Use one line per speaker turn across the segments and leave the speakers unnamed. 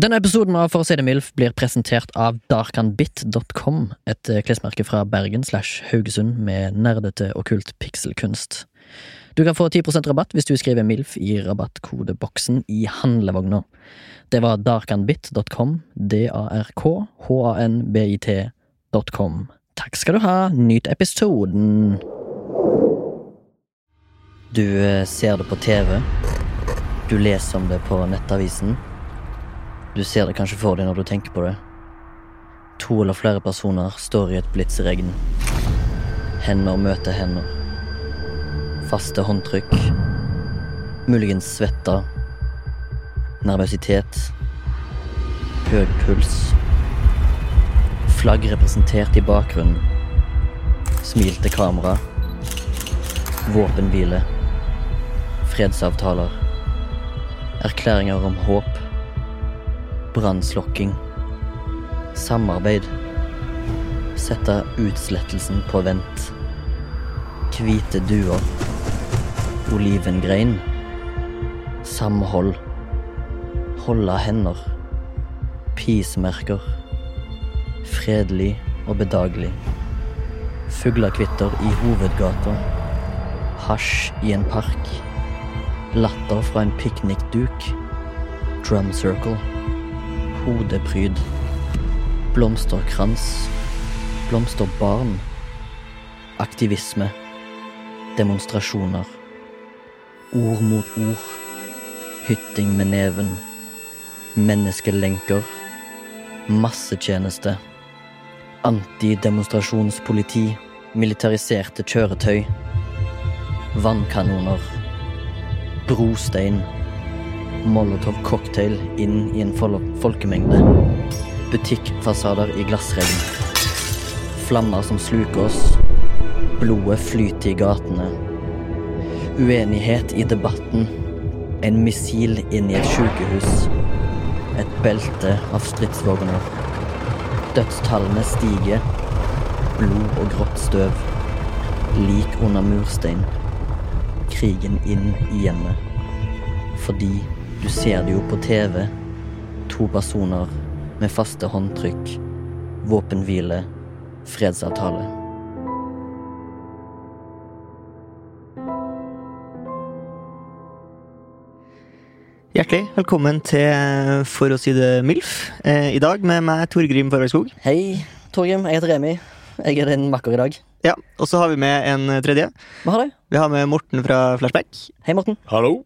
Denne episoden av For å si det mildt blir presentert av darkanbit.com, et eh, klesmerke fra Bergen slash Haugesund med nerdete okkult pikselkunst. Du kan få 10 rabatt hvis du skriver MILF i rabattkodeboksen i handlevogna. Det var darkanbit.com, d-a-r-k-h-a-n-b-i-t.com. Takk skal du ha, nyt episoden! Du eh, ser det på TV. Du leser om det på nettavisen. Du ser det kanskje for deg når du tenker på det. To eller flere personer står i et blitsregn. Hender møter hender. Faste håndtrykk. Muligens svetta. Nervøsitet. Høy puls. Flagg representert i bakgrunnen. Smil til kamera. Våpenhvile. Fredsavtaler. Erklæringer om håp. Brannslokking. Samarbeid. Sette utslettelsen på vent. Hvite duer. Olivengrein. Samhold. Holde hender. Pismerker. Fredelig og bedagelig. Fuglekvitter i hovedgata. Hasj i en park. Latter fra en piknikduk. Drum circle hodepryd, blomsterkrans, blomsterbarn, aktivisme, demonstrasjoner, ord mot ord, hytting med neven, menneskelenker, massetjeneste, antidemonstrasjonspoliti, militariserte kjøretøy, vannkanoner, brostein, molotov-cocktail inn i en fol folkemengde. Butikkfasader i glassregn. Flammer som sluker oss. Blodet flyter i gatene. Uenighet i debatten. En missil inn i et sykehus. Et belte av stridsvogner. Dødstallene stiger. Blod og grått støv. Lik under murstein. Krigen inn i hjemmet fordi du ser det jo på TV. To personer med faste håndtrykk, våpenhvile, fredsavtale.
Hjertelig velkommen til eh, For å si det MILF. Eh, I dag med meg Torgrim Farvegskog.
Hei, Torgrim. Jeg heter Remi. Jeg er din makker i dag.
Ja, og så har vi med en eh, tredje.
Vi har deg.
Vi har med Morten fra Flashback.
Hei, Morten.
Hallo?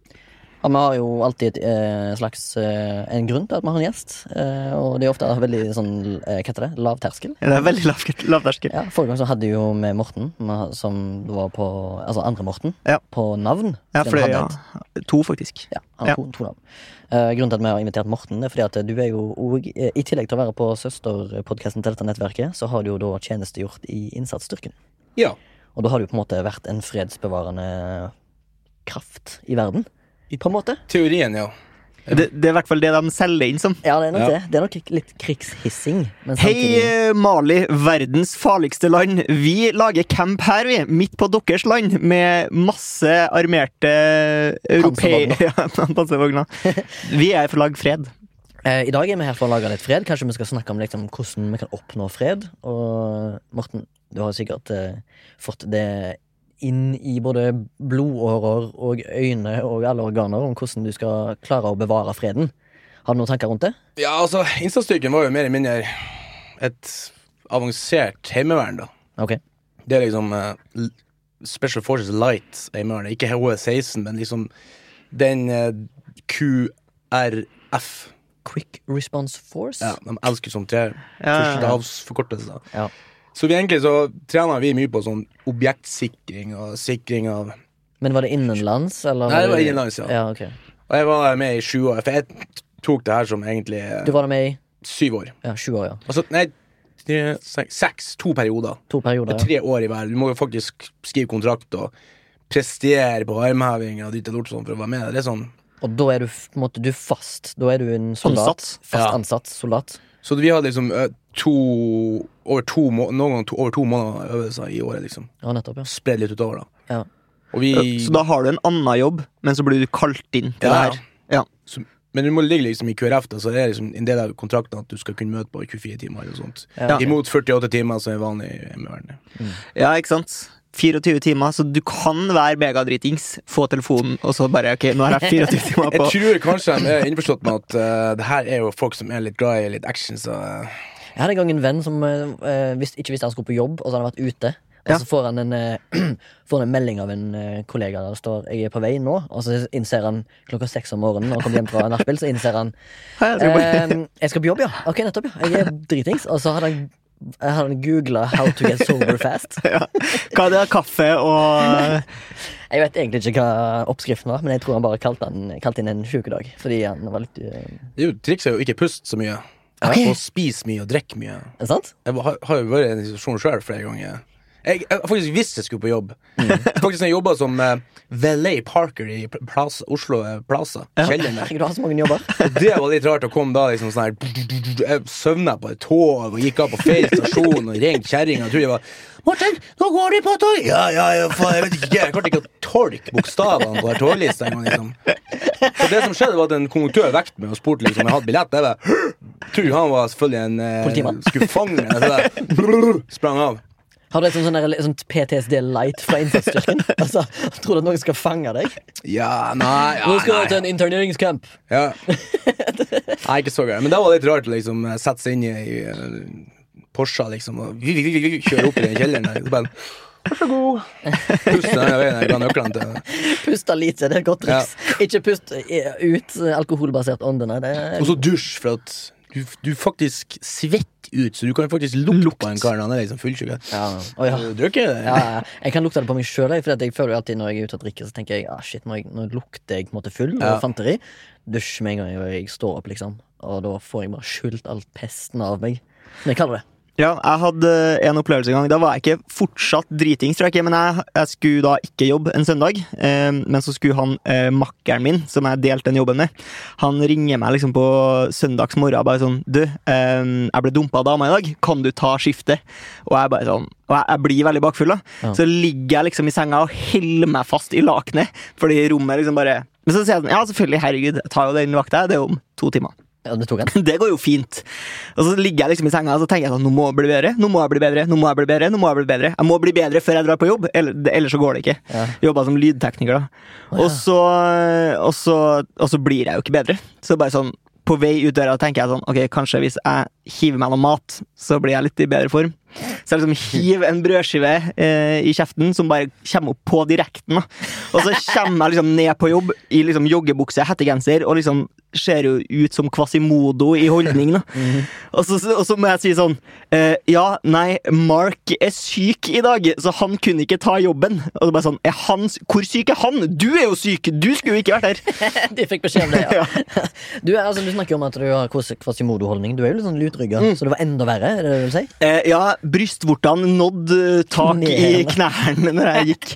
Ja, vi har jo alltid et eh, slags eh, en grunn til at vi har en gjest. Eh, og det er ofte veldig sånn eh, Hva heter det? Lav terskel.
Det er veldig lav lavterskel.
Ja, Forrige gang så hadde vi jo med Morten, ma- som var på Altså andre Morten,
Ja.
på navn.
Ja,
Den
for det,
hadde
ja.
et-
To, faktisk.
Ja, han har
Ja.
To, to navn. Eh, grunnen til at vi har invitert Morten, er fordi at du er jo og, eh, I tillegg til å være på søsterpodkasten til dette nettverket, så har du jo da tjenestegjort i innsatsstyrken.
Ja.
Og da har du på en måte vært en fredsbevarende kraft i verden. På en måte.
Teorien, ja.
Det, det er i hvert fall det de selger inn som.
Ja, det er nok
Ja.
det. Det er nok litt krigshissing. Men
Hei,
samtidig
eh, Mali, verdens farligste land. Vi lager camp her, vi. Midt på deres land, med masse armerte europeere
Panservogner.
ja, panservogner. Vi er for å lage fred.
eh, I dag er vi her for å lage litt fred. Kanskje vi skal snakke om liksom, hvordan vi kan oppnå fred. Og Morten, du har sikkert eh, fått det inn i både blodårer og øyne og alle organer om hvordan du skal klare å bevare freden. Har du noen tanker rundt det?
Ja, altså, innsatsstyrken var jo mer eller mindre et avansert heimevern, da.
Ok.
Det er liksom eh, l- Special Forces Light heimevern. Ikke HE16, men liksom den eh, QRF.
Quick Response Force.
Ja, de elsker sånn sånt der.
Ja, ja, ja.
Førstehavsforkortelser.
Ja.
Så vi egentlig så trener vi mye på sånn objektsikring og sikring av
Men var det innenlands? Eller
Nei, det var innenlands, ja.
ja. ok.
Og jeg var med i sju år, for jeg tok det her som egentlig eh,
Du var da med i
syv år.
ja, sju år, ja.
Altså, nei, tre- seks, seks, to perioder.
To perioder. Ja.
Tre år i hver. Du må jo faktisk skrive kontrakt og prestere på armheving og ditt og lort sånn for å være med. Det er sånn.
Og da er du f- på en måte du er fast. Da er du en soldat.
Ansatt.
Fast
Ja.
ansatt soldat.
Så vi hadde liksom ø, to, over to, må- noen ganger to, over to måneder øvelser i året, liksom.
Ja, nettopp, ja.
Spredd litt utover, da.
Ja.
Og vi
Så da har du en annen jobb, men så blir du kalt inn til
Ja,
det her. Ja.
Så Men du må ligge liksom i QRF, da, så det er liksom en del av kontrakten at du skal kunne møte på 24 timer. eller sånt.
Ja.
Imot 48 timer, som er vanlig i MØR.
Ja, ikke sant? 24 timer, så du kan være megadritings, få telefonen, og så bare OK, nå har jeg 24 timer
Jeg
på
tror kanskje de er innforstått med at eh, det her er jo folk som er litt glad i litt action, så eh,
Jeg hadde en gang en venn som eh, eh, visst- ikke visste han skulle på jobb, og så hadde han vært ute. Og
Ja.
så får han, en, eh, får han en melding av en eh, kollega der det står 'jeg er på vei nå', og så innser han klokka seks om morgenen når han kommer hjem fra nachspiel, så innser han
Hei, jeg skal
Eh.
bare-
ehm, 'jeg skal på jobb, ja'. Ok, nettopp, ja. Jeg er dritings. Og så hadde han, eh, hadde han googla 'how to get sober fast'.
Hva er det? Kaffe og
Jeg vet egentlig ikke hva oppskriften var, men jeg tror han bare kalte, han, kalte inn en sjukedag. Fordi han var litt eh,
det er jo- Trikset er jo ikke puste så mye.
Ok.
Og spise mye og drikke mye.
Er det sant?
Jeg har, har jo vært i en situasjon sjøl flere ganger. Jeg, jeg har faktisk visst jeg skulle på jobb. Faktisk når Jeg jobba som uh, Valet Parker i Pl- Plaza, Oslo eh, Plaza. Kjelleren der.
Herregud, du har så mange jobber.
Og det var litt rart å komme da liksom sånn her Jeg søvna på et tog og gikk av på feil stasjon og ringte kjerringa og trodde jeg var Morten, nå går de på tog! Ja, ja, ja, faen, jeg vet ikke, jeg klarte ikke å tolke bokstavene på den toglista engang, liksom. Så det som skjedde, var at en konduktør vekket meg og spurte liksom, om jeg hadde billett. Jeg bare Tror han var selvfølgelig en eh,
Politimann.
skulle fange meg. Så jeg sprang av.
Har du et sånn, sånn, der- sånn PTSD light fra innsatsstyrken? altså, tror du at noen skal fange deg?
Ja, nei, ja,
Nå skal du
nei.
til en interneringskamp.
Ja. Nei, ikke så gøy. Men det var litt rart å liksom, sette seg inn i, i eh, Porsche liksom, og vi- vi- vi- vi- kjøre opp i den kjelleren der. Så bare, Vær så god. Puste den veien jeg ga nøklene til.
Puste lite, det er et godt triks. Ikke pust i- ut eh, alkoholbasert åndene. Det
Og
er...
så dusj, for at du, du faktisk svetter ut, så du kan faktisk lukte på en kar når han er liksom fullsjuk.
ja. Å, ja.
Du drikker det?
Ja, ja. jeg kan lukte det på meg sjøl, for jeg føler jo alltid når jeg er ute og drikker, så tenker jeg ah, shit, nå, er jeg, nå lukter jeg på en måte full og
Ja.
fanteri. Dusj med en gang jeg, jeg står opp, liksom. Og da får jeg bare skylt all pesten av meg. Men jeg kaller det
Ja, jeg hadde eh, en opplevelse en gang. Da var jeg ikke fortsatt dritings, tror jeg ikke, men jeg, jeg skulle da ikke jobbe en søndag. Eh, men så skulle han eh, makkeren min, som jeg delte den jobben med, han ringer meg liksom på søndags morgen og bare sånn Du, eh, jeg ble dumpa av dama i dag. Kan du ta skiftet? Og jeg bare sånn og jeg, jeg blir veldig bakfull, da.
Ja.
Så ligger jeg liksom i senga og holder meg fast i lakenet. Fordi rommet liksom bare Men så sier jeg sånn Ja, selvfølgelig, herregud, jeg tar jo den vakta. jeg. Det er jo om to timer.
Ja, det tok han.
Det går jo fint. Og så ligger jeg liksom i senga og så tenker jeg sånn, nå må jeg bli bedre. Nå må jeg bli bedre, nå må jeg bli bedre, nå må jeg bli bedre. Jeg må bli bedre før jeg drar på jobb, eller, ellers så går det ikke.
Ja.
Eh, Jobba som lydtekniker, da. Og så, eh, og, så, og så blir jeg jo ikke bedre. Så bare sånn, på vei ut døra tenker jeg sånn, ok, kanskje hvis jeg hiver meg noe mat, så blir jeg litt i bedre form. Så jeg liksom hiver en brødskive eh, i kjeften som bare kommer opp på direkten. Da. Og så kommer jeg liksom ned på jobb i liksom joggebukse, hettegenser og liksom ser jo ut som Quasimodo i holdning. Da. Og, så, og så må jeg si sånn eh, Ja, nei, Mark er syk i dag, så han kunne ikke ta jobben. Og så bare sånn, er han, s- Hvor syk er han? Du er jo syk! Du skulle jo ikke vært her!
De fikk beskjed om det, ja. Du, er- altså, du snakker jo om at du har kvas- kvasimodo-holdning. Du er jo litt sånn lutrygga, så det var enda verre. er det det du vil si?
Eh, ja, brystvortene nådde eh, tak i knærne når jeg gikk.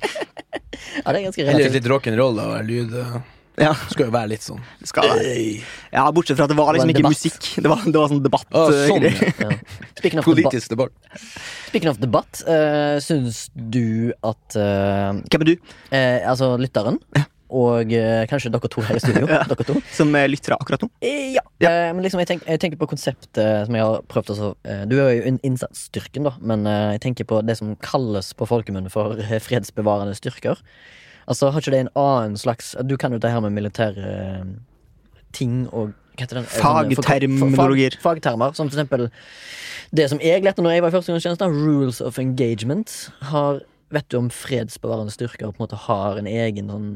Ja, det er ganske
Eller
relativt.
litt rock'n'roll, da. og Lyd eh,
Ja,
skal jo være litt sånn.
skal jeg. Ja, Bortsett fra at det var liksom
Det
ikke
var en
musikk. Det var, det var sånn debatt.
Å,
eh,
sånn,
greier.
ja.
Ja. Speaking of debatt,
Politisk debatt.
speaking of debatt eh, syns du at eh,
Hvem er du
eh, Altså lytteren, og eh, kanskje dere to her i studio, dere to,
som eh, lytter akkurat nå?
Eh, Ja. Eh, men liksom, jeg, tenk, jeg tenker på konseptet som jeg har prøvd også. eh, du er jo inn- innsatsstyrken, da, men eh, jeg tenker på det som kalles på folkemunne for eh, fredsbevarende styrker. Altså, har ikke det en annen slags Du kan jo det her med militære eh, ting og hva heter den? Eh, sånne- for-
Fagterminologier.
Fag, fagtermer, som for eksempel det som jeg lærte når jeg var i førstegangstjeneste, rules of engagement. Har, vet du om fredsbevarende styrker på en måte har en egen sånn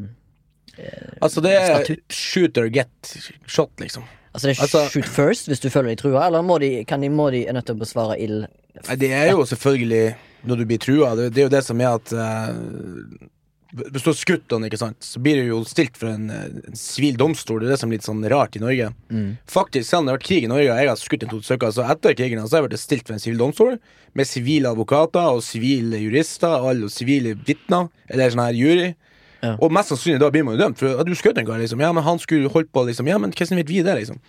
Altså, det er
Statutt.
shoot or get shot, liksom.
Altså det er
Altså-
shoot first hvis du føler deg trua, eller må de, kan de, må de er nødt til å besvare ild?
Nei, det er jo selvfølgelig når du blir trua. Det, det er jo det som er at eh, Hvis du har skutt noen, ikke sant, så blir du jo stilt for en, eh, en sivil domstol. Det er det som er litt sånn rart i Norge.
Mm.
Faktisk, selv om det har vært krig i Norge, og jeg har skutt en to stykker, så etter krigen så har jeg vært stilt for en sivil domstol med sivile advokater og sivile jurister og alle sivile vitner, eller sånn her jury.
Ja.
Og mest sannsynlig da blir man jo dømt, for at du skjøt en kar, liksom. Ja, men han skulle holdt på, liksom. Ja, men hvordan vet vi det, liksom?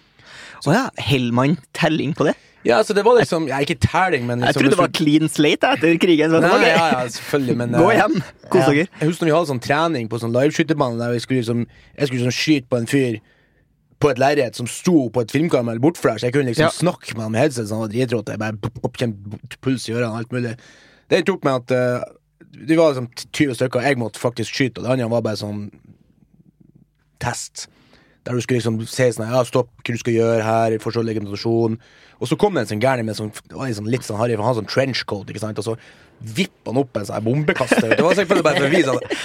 Å ja, Hellmann telling på det?
Ja, så det var liksom Ja, ikke telling, men liksom,
Jeg trodde det
hvis
var
du-
clean slate jeg, etter krigen. Så det var
Nei,
gøy.
ja, ja, selvfølgelig, men
Gå
eh,
hjem, kos
Ja.
dere.
Jeg husker når vi hadde sånn trening på sånn liveskytebane der vi skulle liksom, jeg skulle liksom skyte på en fyr på et lerret som sto på et filmkamera bortfra, så jeg kunne liksom
Ja.
snakke med han med headset, så han var dritrått. Jeg bare pop, pop, kjente puls i ørene og alt mulig. Det endte opp med at eh, de var liksom 20 stykker, og jeg måtte faktisk skyte, og det andre var bare sånn test. Der du skulle liksom si sånn Ja, stopp, hva du skal gjøre her, forstå legitimation. Og så kom det en sånn gærning med sånn, det var liksom litt sånn harry, for han hadde sånn trenchcoat, ikke sant, og så vippet han opp en sånn bombekaster. Det var selvfølgelig bare for å vise at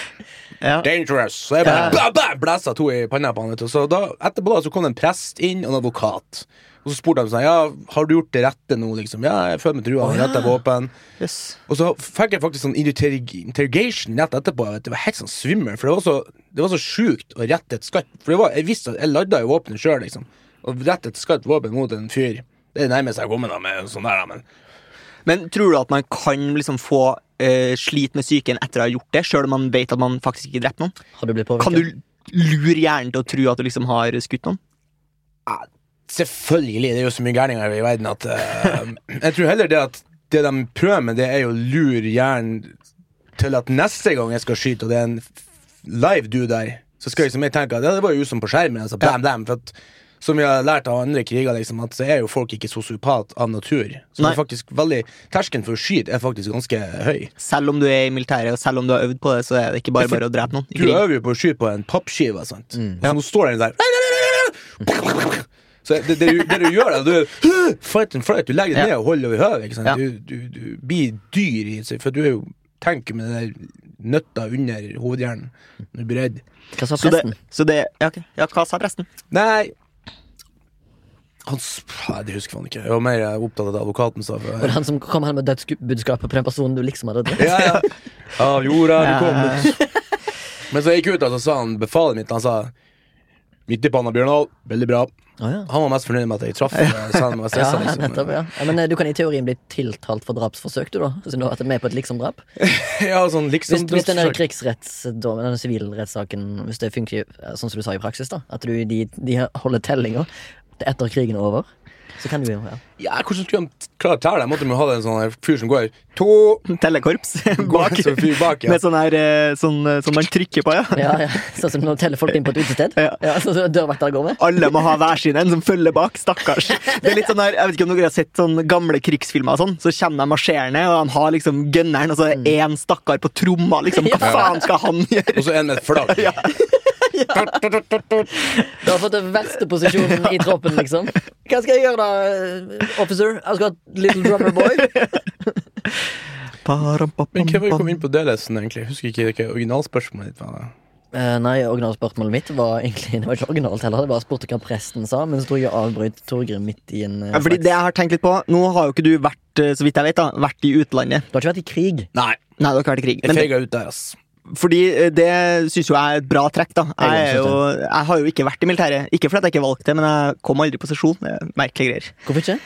Ja.
Dangerous! Så jeg bare bæ, bæ, blæsta to i panna på han. Vet du. Så da, etterpå da, så kom det en prest inn og en advokat. Og så spurte han sånn Ja, har du gjort det rette nå, liksom? Ja, jeg føler meg trua. Han retta våpen.
Yes.
Og så fikk jeg faktisk sånn interrog- interrogation rett etterpå. Vet du. Det var helt sånn svimmel, for det var så, det var så sjukt å rette et skarpt For det var, jeg visste at jeg ladda jo våpenet sjøl, liksom. Og rette et skarpt våpen mot en fyr. Det er det nærmeste jeg kommer da med en sånn der, da, men
Men tror du at man kan liksom få eh, slit med psyken etter å ha gjort det, sjøl om man vet at man faktisk ikke drepte noen?
Har du blitt
Kan
påvirket?
du lure hjernen til å tro at du liksom har skutt noen?
Ja, Selvfølgelig. Det er jo så mye gærninger i verden at eh, Jeg tror heller det at det de prøver med, det er jo å lure hjernen til at neste gang jeg skal skyte, og det er en f- live dude der, så skal liksom jeg tenke at ja, det var jo som på skjermen. Altså, bam, bam, for at som vi har lært av andre kriger, liksom, at så er jo folk ikke sosiopat av natur. Så det
Nei.
er faktisk veldig Terskelen for å skyte er faktisk ganske høy.
Selv om du er i militæret og selv om du har øvd på det, så er det ikke bare bare å drepe noen. i
Du
krig. Mm.
øver jo på å skyte på en pappskive, sant? Og så nå står den der Så det, det, du, det du gjør, er at du fight and flight. Du legger deg ned og holder over hodet. ikke sant?
Ja.
Du, du, du blir dyr i seg, for du er jo tenker med den der nøtta under hovedhjernen når du blir redd.
Hva sa
Så det,
presten?
så det ja, ok. ja, hva sa presten?
Nei han, sp- Nei, Det husker han ikke. Jeg var mer opptatt av det advokaten sa. For,
Var det han som kom her med dødsbudskapet på den personen du liksom hadde drept?
Ja, ja. Av jorda er du kommet. Men så gikk jeg ut, og så sa han befalet mitt Han sa Midt i panna, Bjørndal. Veldig bra.
Å, ja.
Han var mest fornøyd med at jeg traff, eh, selv om jeg var
Ja,
stressa.
nettopp,
Liksom.
ja. ja, Men eh, du kan i teorien bli tiltalt for drapsforsøk, du, da? Siden du har vært med på et liksom-drap?
Ja, sånn, liksom,
Hvis, hvis den der
drøfteforsøk.
krigsrettsdommen, den sivilrettssaken, hvis det funker eh, sånn som du sa i praksis, da, at du, de, de holder tellinga til etter krigen er over, så kan du jo ja.
ja, hvordan skulle han t- klare å telle? Jeg måtte jo ha det en sånn her fyr som går to
Tellekorps
går
bak.
en sånn fyr bak, ja.
Med sånn her eh, sånn, eh, som man trykker på, ja.
Ja, ja. Sånn som når teller folk inn på et utested.
Ja.
Ja, sånn som dørvakter går med.
Alle må ha hver sin en som følger bak. Stakkars. Det er litt sånn her, jeg vet ikke om dere har sett sånn gamle krigsfilmer, og sånn, så kommer de marsjerende, og han har liksom gunneren, og så er det
Mm.
én stakkar på tromma. liksom, Hva
Ja.
faen skal han gjøre?
Og så en med et flagg.
Du har fått den verste posisjonen i troppen, liksom. Hva skal jeg gjøre da, officer? I've got little drummer boy.
Men hva var det vi kom
Parampapampam.
inn på det lesen, egentlig? Jeg husker ikke hva originalspørsmålet ditt var.
Eh, nei, originalspørsmålet mitt var egentlig Det var ikke originalt heller. Det var spurte hva presten sa, men så tror jeg jeg avbrøt Torgrim midt i en eh,
Ja, fordi
slags
det jeg har tenkt litt på, Nå har jo ikke du vært eh, så vidt jeg vet da, vært i utlandet.
Du har ikke vært i krig?
Nei,
Nei, du har ikke vært i krig.
jeg
Men det,
feiga ut der, ass.
fordi eh, det syns jo jeg er et bra trekk. da. Jeg,
Jeg
er
synes
jo, jeg har jo ikke vært i militæret. Ikke fordi jeg ikke valgte det, men jeg kom aldri på sesjon. Det er Merkelige greier.
Hvorfor ikke?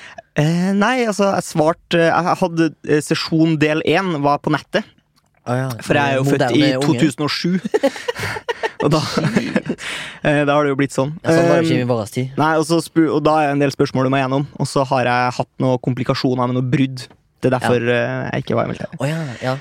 Eh, nei, altså, jeg svarte eh, Jeg hadde eh, sesjon del én var på nettet.
Ah, ja.
For jeg er jo født i
Moderne unge.
2007. og da eh, Da har det jo blitt sånn.
Ja, sånn var det
Eh,
ikke i vår tid.
Nei, og, så spu og da er det en del spørsmål du må gjennom. Og så har jeg hatt noen komplikasjoner med noe brudd. Det er derfor eh, jeg ikke var i militæret.
Å ja, ja.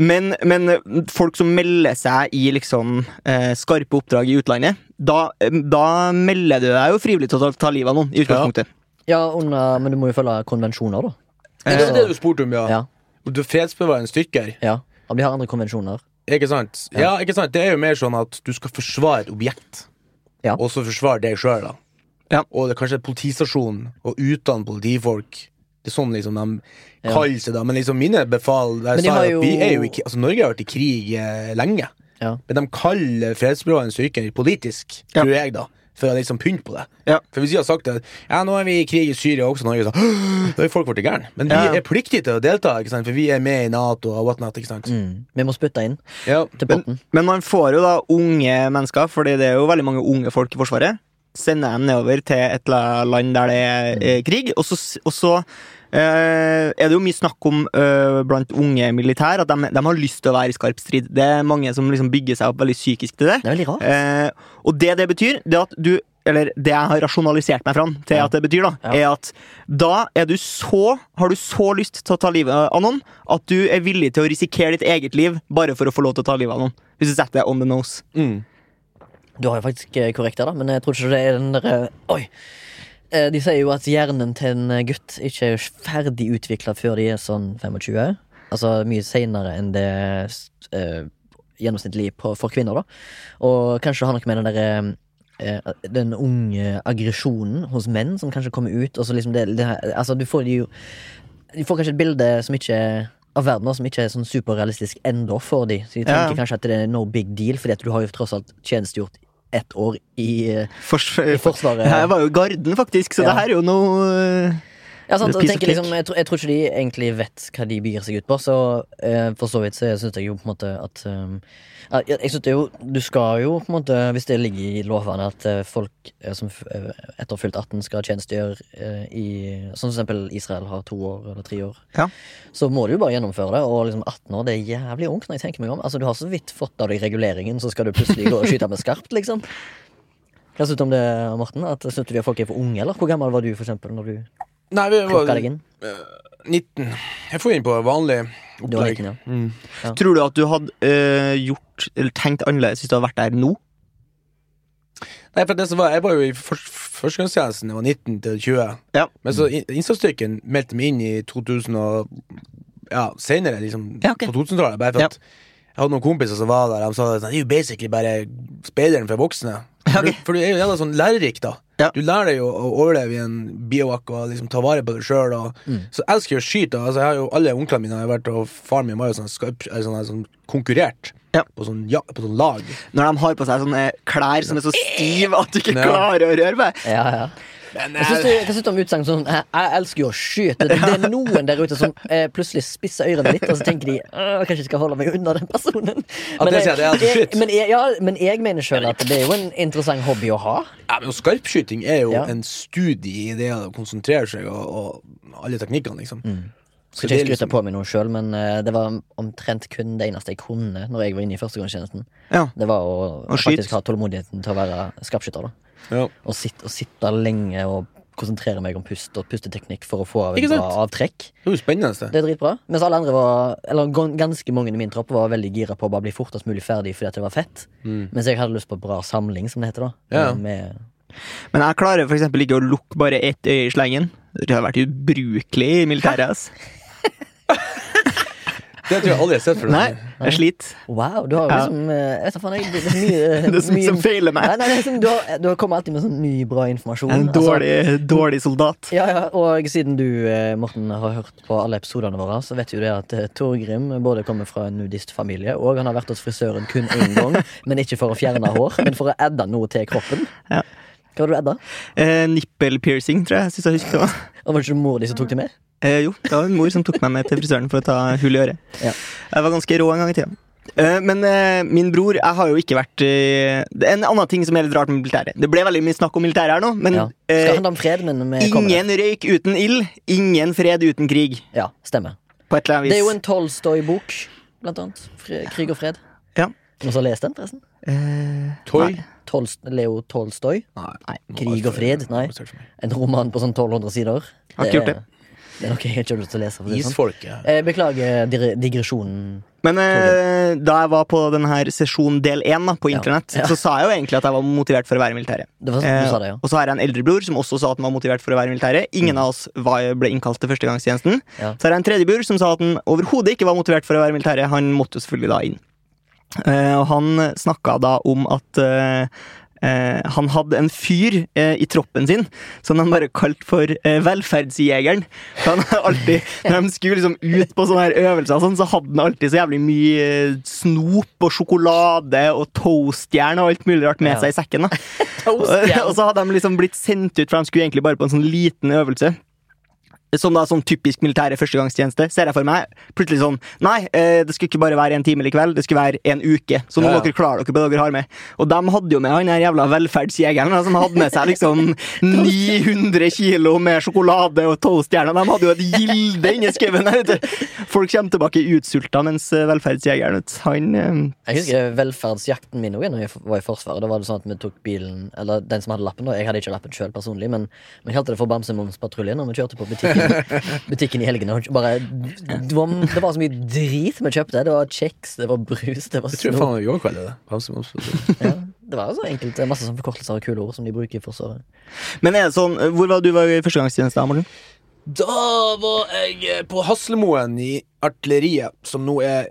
Men, men eh, folk som melder seg i liksom eh, skarpe oppdrag i utlandet, da, eh, da melder du deg jo frivillig til å ta, ta livet av noen. i utgangspunktet.
ja under, men du må jo følge konvensjoner, da.
Det er det du spurte om,
Ja.
ja. Du er fredsbevarende styrker.
ja. Og de har andre konvensjoner.
Ikke sant? Ja, ikke sant? Det er jo mer sånn at du skal forsvare et objekt,
Ja.
og så forsvare deg sjøl, da.
Ja.
Og det er kanskje politistasjon, og utdanne politifolk. Det er sånn liksom de
Ja.
kaller seg, da. Men liksom mine befal der
Men de
sa
har
jo... at vi
jo-
er jo ikke Altså, Norge har vært i krig eh, lenge.
Ja.
Men de kaller fredsbevarende styrker politisk,
Ja.
tror jeg, da. For å liksom pynte på det.
Ja.
For hvis de har sagt at ja, nå er vi i krig i Syria også, Norge, så da har folk blitt gærne. Men vi
Ja.
er pliktige til å delta, ikke sant? for vi er med i Nato og whatnot. ikke sant?
Mm.
Mm. Vi må spytte inn
Ja.
til
Men,
potten.
men man får jo da unge mennesker, Fordi det er jo veldig mange unge folk i Forsvaret. Sender dem nedover til et la- land der det er eh, krig. Og så, s- og så eh, er det jo mye snakk om eh, blant unge militær at de, de har lyst til å være i skarp strid. Det er mange som liksom bygger seg opp veldig psykisk til det.
Det er veldig rart.
Eh, og det det betyr, det at du Eller det jeg har rasjonalisert meg fram til
Ja.
at det betyr, da, er at da er du så Har du så lyst til å ta livet av noen at du er villig til å risikere ditt eget liv bare for å få lov til å ta livet av noen. Hvis du setter deg on the nose.
Mm.
Du har jo faktisk eh, korrekt der, da, men jeg tror ikke det er den derre Oi! Eh, De sier jo at hjernen til en eh, gutt ikke er ferdig utvikla før de er sånn 25. Altså mye seinere enn det eh, gjennomsnittlig på, for kvinner, da. Og kanskje det har noe med den derre eh, den unge aggresjonen hos menn som kanskje kommer ut. Og så liksom det, det, her- altså du får de jo De får kanskje et bilde som ikke av verden da, som ikke er sånn superrealistisk ennå for de Så de
Ja.
tenker kanskje at det er no big deal, fordi at du har jo tross alt tjenestegjort ett år i, eh,
Fors-
i Forsvaret.
Jeg var jo i garden, faktisk, så
Ja.
det her er jo noe eh,
Ja, sant,
Det
og
spiser
tenker,
klikk.
liksom, jeg, tror, jeg tror ikke de egentlig vet hva de begir seg ut på, så eh, for så vidt så syns jeg jo på en måte at ehm, ja, Jeg jeg synes det er jo, Du skal jo på en måte, hvis det ligger i lovene at eh, folk eh, som f- eh, etter fylt 18 skal tjenestegjøre eh, i Som for eksempel Israel har to år eller tre år.
Ja.
Så må du jo bare gjennomføre det, og liksom 18 år det er jævlig ungt når jeg tenker meg om. Altså Du har så vidt fått av deg reguleringen, så skal du plutselig gå og skyte med skarpt, liksom. Hva synes du om det, Morten? At, synes du de folk er for unge, eller? Hvor gammel var du, for eksempel, når du
Nei, vi var
plukka deg inn?
19. Jeg får inn på vanlig
Du var
opplegg.
19, ja.
Mm.
Tror du at du hadde eh, gjort Eller tenkt annerledes hvis du hadde vært der nå?
Nei, for det som var, jeg var jo i for- førstegangstjenesten da jeg var 19 til 20.
Ja.
Men så in- innsatsstyrken meldte meg inn i 2000 og Ja, senere, liksom.
Ja, ok.
På 2000-tallet. Bare for
Ja.
at jeg hadde noen kompiser som var der, de sa at det er jo basically bare speideren for voksne. For,
ok.
du, for du er jo jævla sånn lærerik, da.
Ja.
Du lærer deg jo å overleve i en bivak og liksom ta vare på deg sjøl.
Mm.
Så jeg elsker jo å skyte. da. Altså, jeg har jo alle onklene mine har jo vært, og faren min var jo sånn, skarp- eller sånn, sånn konkurrert
Ja.
på, sånn, ja, på sånn lag.
Når de har på seg sånne klær som er så stive at du ikke
Ja.
klarer å røre på deg.
Ja, ja. Hva
eh,
syns du, hva syns du om utsagn som jeg, 'jeg elsker jo å skyte'? Det, det er noen der ute som eh, plutselig spisser ørene litt, og så tenker de «Åh, 'kanskje jeg skal holde meg unna den personen'.
Ja, det sier jeg, det er altså
jeg,
skyt.
men, jeg, ja, men jeg mener sjøl at det er jo en interessant hobby å ha.
Ja, men Skarpskyting er jo
Ja.
en studie i det å konsentrere seg og, og alle teknikkene, liksom. Så
Skal ikke
det er
jeg skryte
liksom-
på meg noe sjøl, men eh, det var omtrent kun det eneste jeg kunne når jeg var inne i førstegangstjenesten.
Ja.
Det var å,
Å skyte.
faktisk ha tålmodigheten til å være skarpskytter. da
Ja.
Å sitte, å sitte lenge og konsentrere meg om pust og pusteteknikk for å få av
Ikke
et
sant?
bra avtrekk.
Det er jo spennende. Det.
Det er dritbra. Mens alle andre var Eller gan- ganske mange i min tropp var veldig gira på å bare bli fortest mulig ferdig fordi at det var fett.
Mm.
Mens jeg hadde lyst på bra samling, som det heter da. Eh,
Ja.
Med,
Men jeg klarer for eksempel ikke å lukke bare ett øye i slengen. Det har vært ubrukelig i militæret. ass.
det tror jeg aldri jeg har sett før.
Nei, jeg sliter.
wow, du har jo
Ja.
liksom eh, Jeg vet da faen, jeg det er så mye
Det er så mye som feiler meg.
Nei, nei, det er liksom, du, har, du har kommet alltid med sånn ny, bra informasjon.
En
Altså,
dårlig, dårlig soldat.
Ja, ja, og siden du, eh, Morten, har hørt på alle episodene våre, så vet jo det at eh, Torgrim både kommer fra en nudistfamilie, og han har vært hos frisøren kun én gang, men ikke for å fjerne hår, men for å edde noe til kroppen.
Ja.
Hva var det du edda?
Eh, nipple piercing, tror jeg. Synes jeg husker det var.
Og var det ikke mor de som tok det med?
Eh, jo, det var en mor som tok meg med til frisøren for å ta hull i øret.
Ja.
Jeg var ganske rå en gang i tida. Eh, men eh, min bror Jeg har jo ikke vært eh, Det er En annen ting som er litt rart med militæret. Det ble veldig mye snakk om militæret her nå, men
Ja. Skal
eh,
handle om fred, men vi kommer
ingen røyk uten ild, ingen fred uten krig.
der. Ja, stemmer.
På et eller annet vis.
Det er jo en Tolstoy-bok, blant annet. Fre Krig og fred.
Ja.
Noen som har lest den, forresten? Eh,
Toy?
Tolst Leo Tolstoy.
Nei.
Krig og fred, nei. En roman på sånn 1200 sider.
Har ikke gjort det.
er- Det er nok jeg ikke har lyst til å lese. For å si det sånn.
Isfolket.
Eh, Beklager dir- digresjonen.
Men eh, da jeg var på denne sesjon del én da, på
Ja.
internett,
Ja.
så sa jeg jo egentlig at jeg var motivert for å være i militæret.
Det var sånn du
Eh,
sa det, ja. Mm.
Og så har jeg en eldre bror som også sa at han var motivert for å være i militæret. Ingen av oss var, ble innkalt til førstegangstjenesten.
Ja.
Så har jeg en tredje bror som sa at han overhodet ikke var motivert for å være i militæret. Han måtte jo selvfølgelig da inn. Eh, og han snakka da om at eh, eh, han hadde en fyr eh, i troppen sin som han bare kalte for eh, velferdsjegeren. For han har alltid, når de skulle liksom ut på sånne her øvelser, og sånn, så hadde han alltid så jævlig mye eh, snop og sjokolade og toastjern og alt mulig rart med
Ja.
seg i sekken. da og
Toastjern.
så hadde de liksom blitt sendt ut, for de skulle egentlig bare på en sånn liten øvelse. Som da sånn typisk militære førstegangstjeneste, ser jeg for meg. Plutselig sånn Nei, eh, det skulle ikke bare være en time eller kveld, det skulle være en uke. Så nå må
Ja, ja.
dere klare dere på det dere har med. Og de hadde jo med han her jævla velferdsjegeren da, som hadde med seg liksom 900 kilo med sjokolade og toastjerner. De hadde jo et gilde inni skauen her, vet du. Folk kommer tilbake utsulta, mens eh, velferdsjegeren, vet du, han eh,
Jeg husker velferdsjakten min også, når jeg var i Forsvaret. Da var det sånn at vi tok bilen, eller den som hadde lappen da, Jeg hadde ikke lappen sjøl personlig, men vi kalte det for Bamsemumspatruljen. Og vi kjørte på butikken, butikken i helgene. og Bare, det, var, det var så mye drit vi kjøpte. Det var kjeks, det var brus, det var
Jeg tror
snop.
faen det var i går kveld. det. Bamse, bamse, bamse.
Ja. det var altså enkelte masse sånn forkortelser og kule ord som de bruker i Forsvaret.
Men er det sånn, hvor var du var i førstegangstjeneste, Morten?
Da var jeg eh, på Haslemoen i artilleriet, som nå er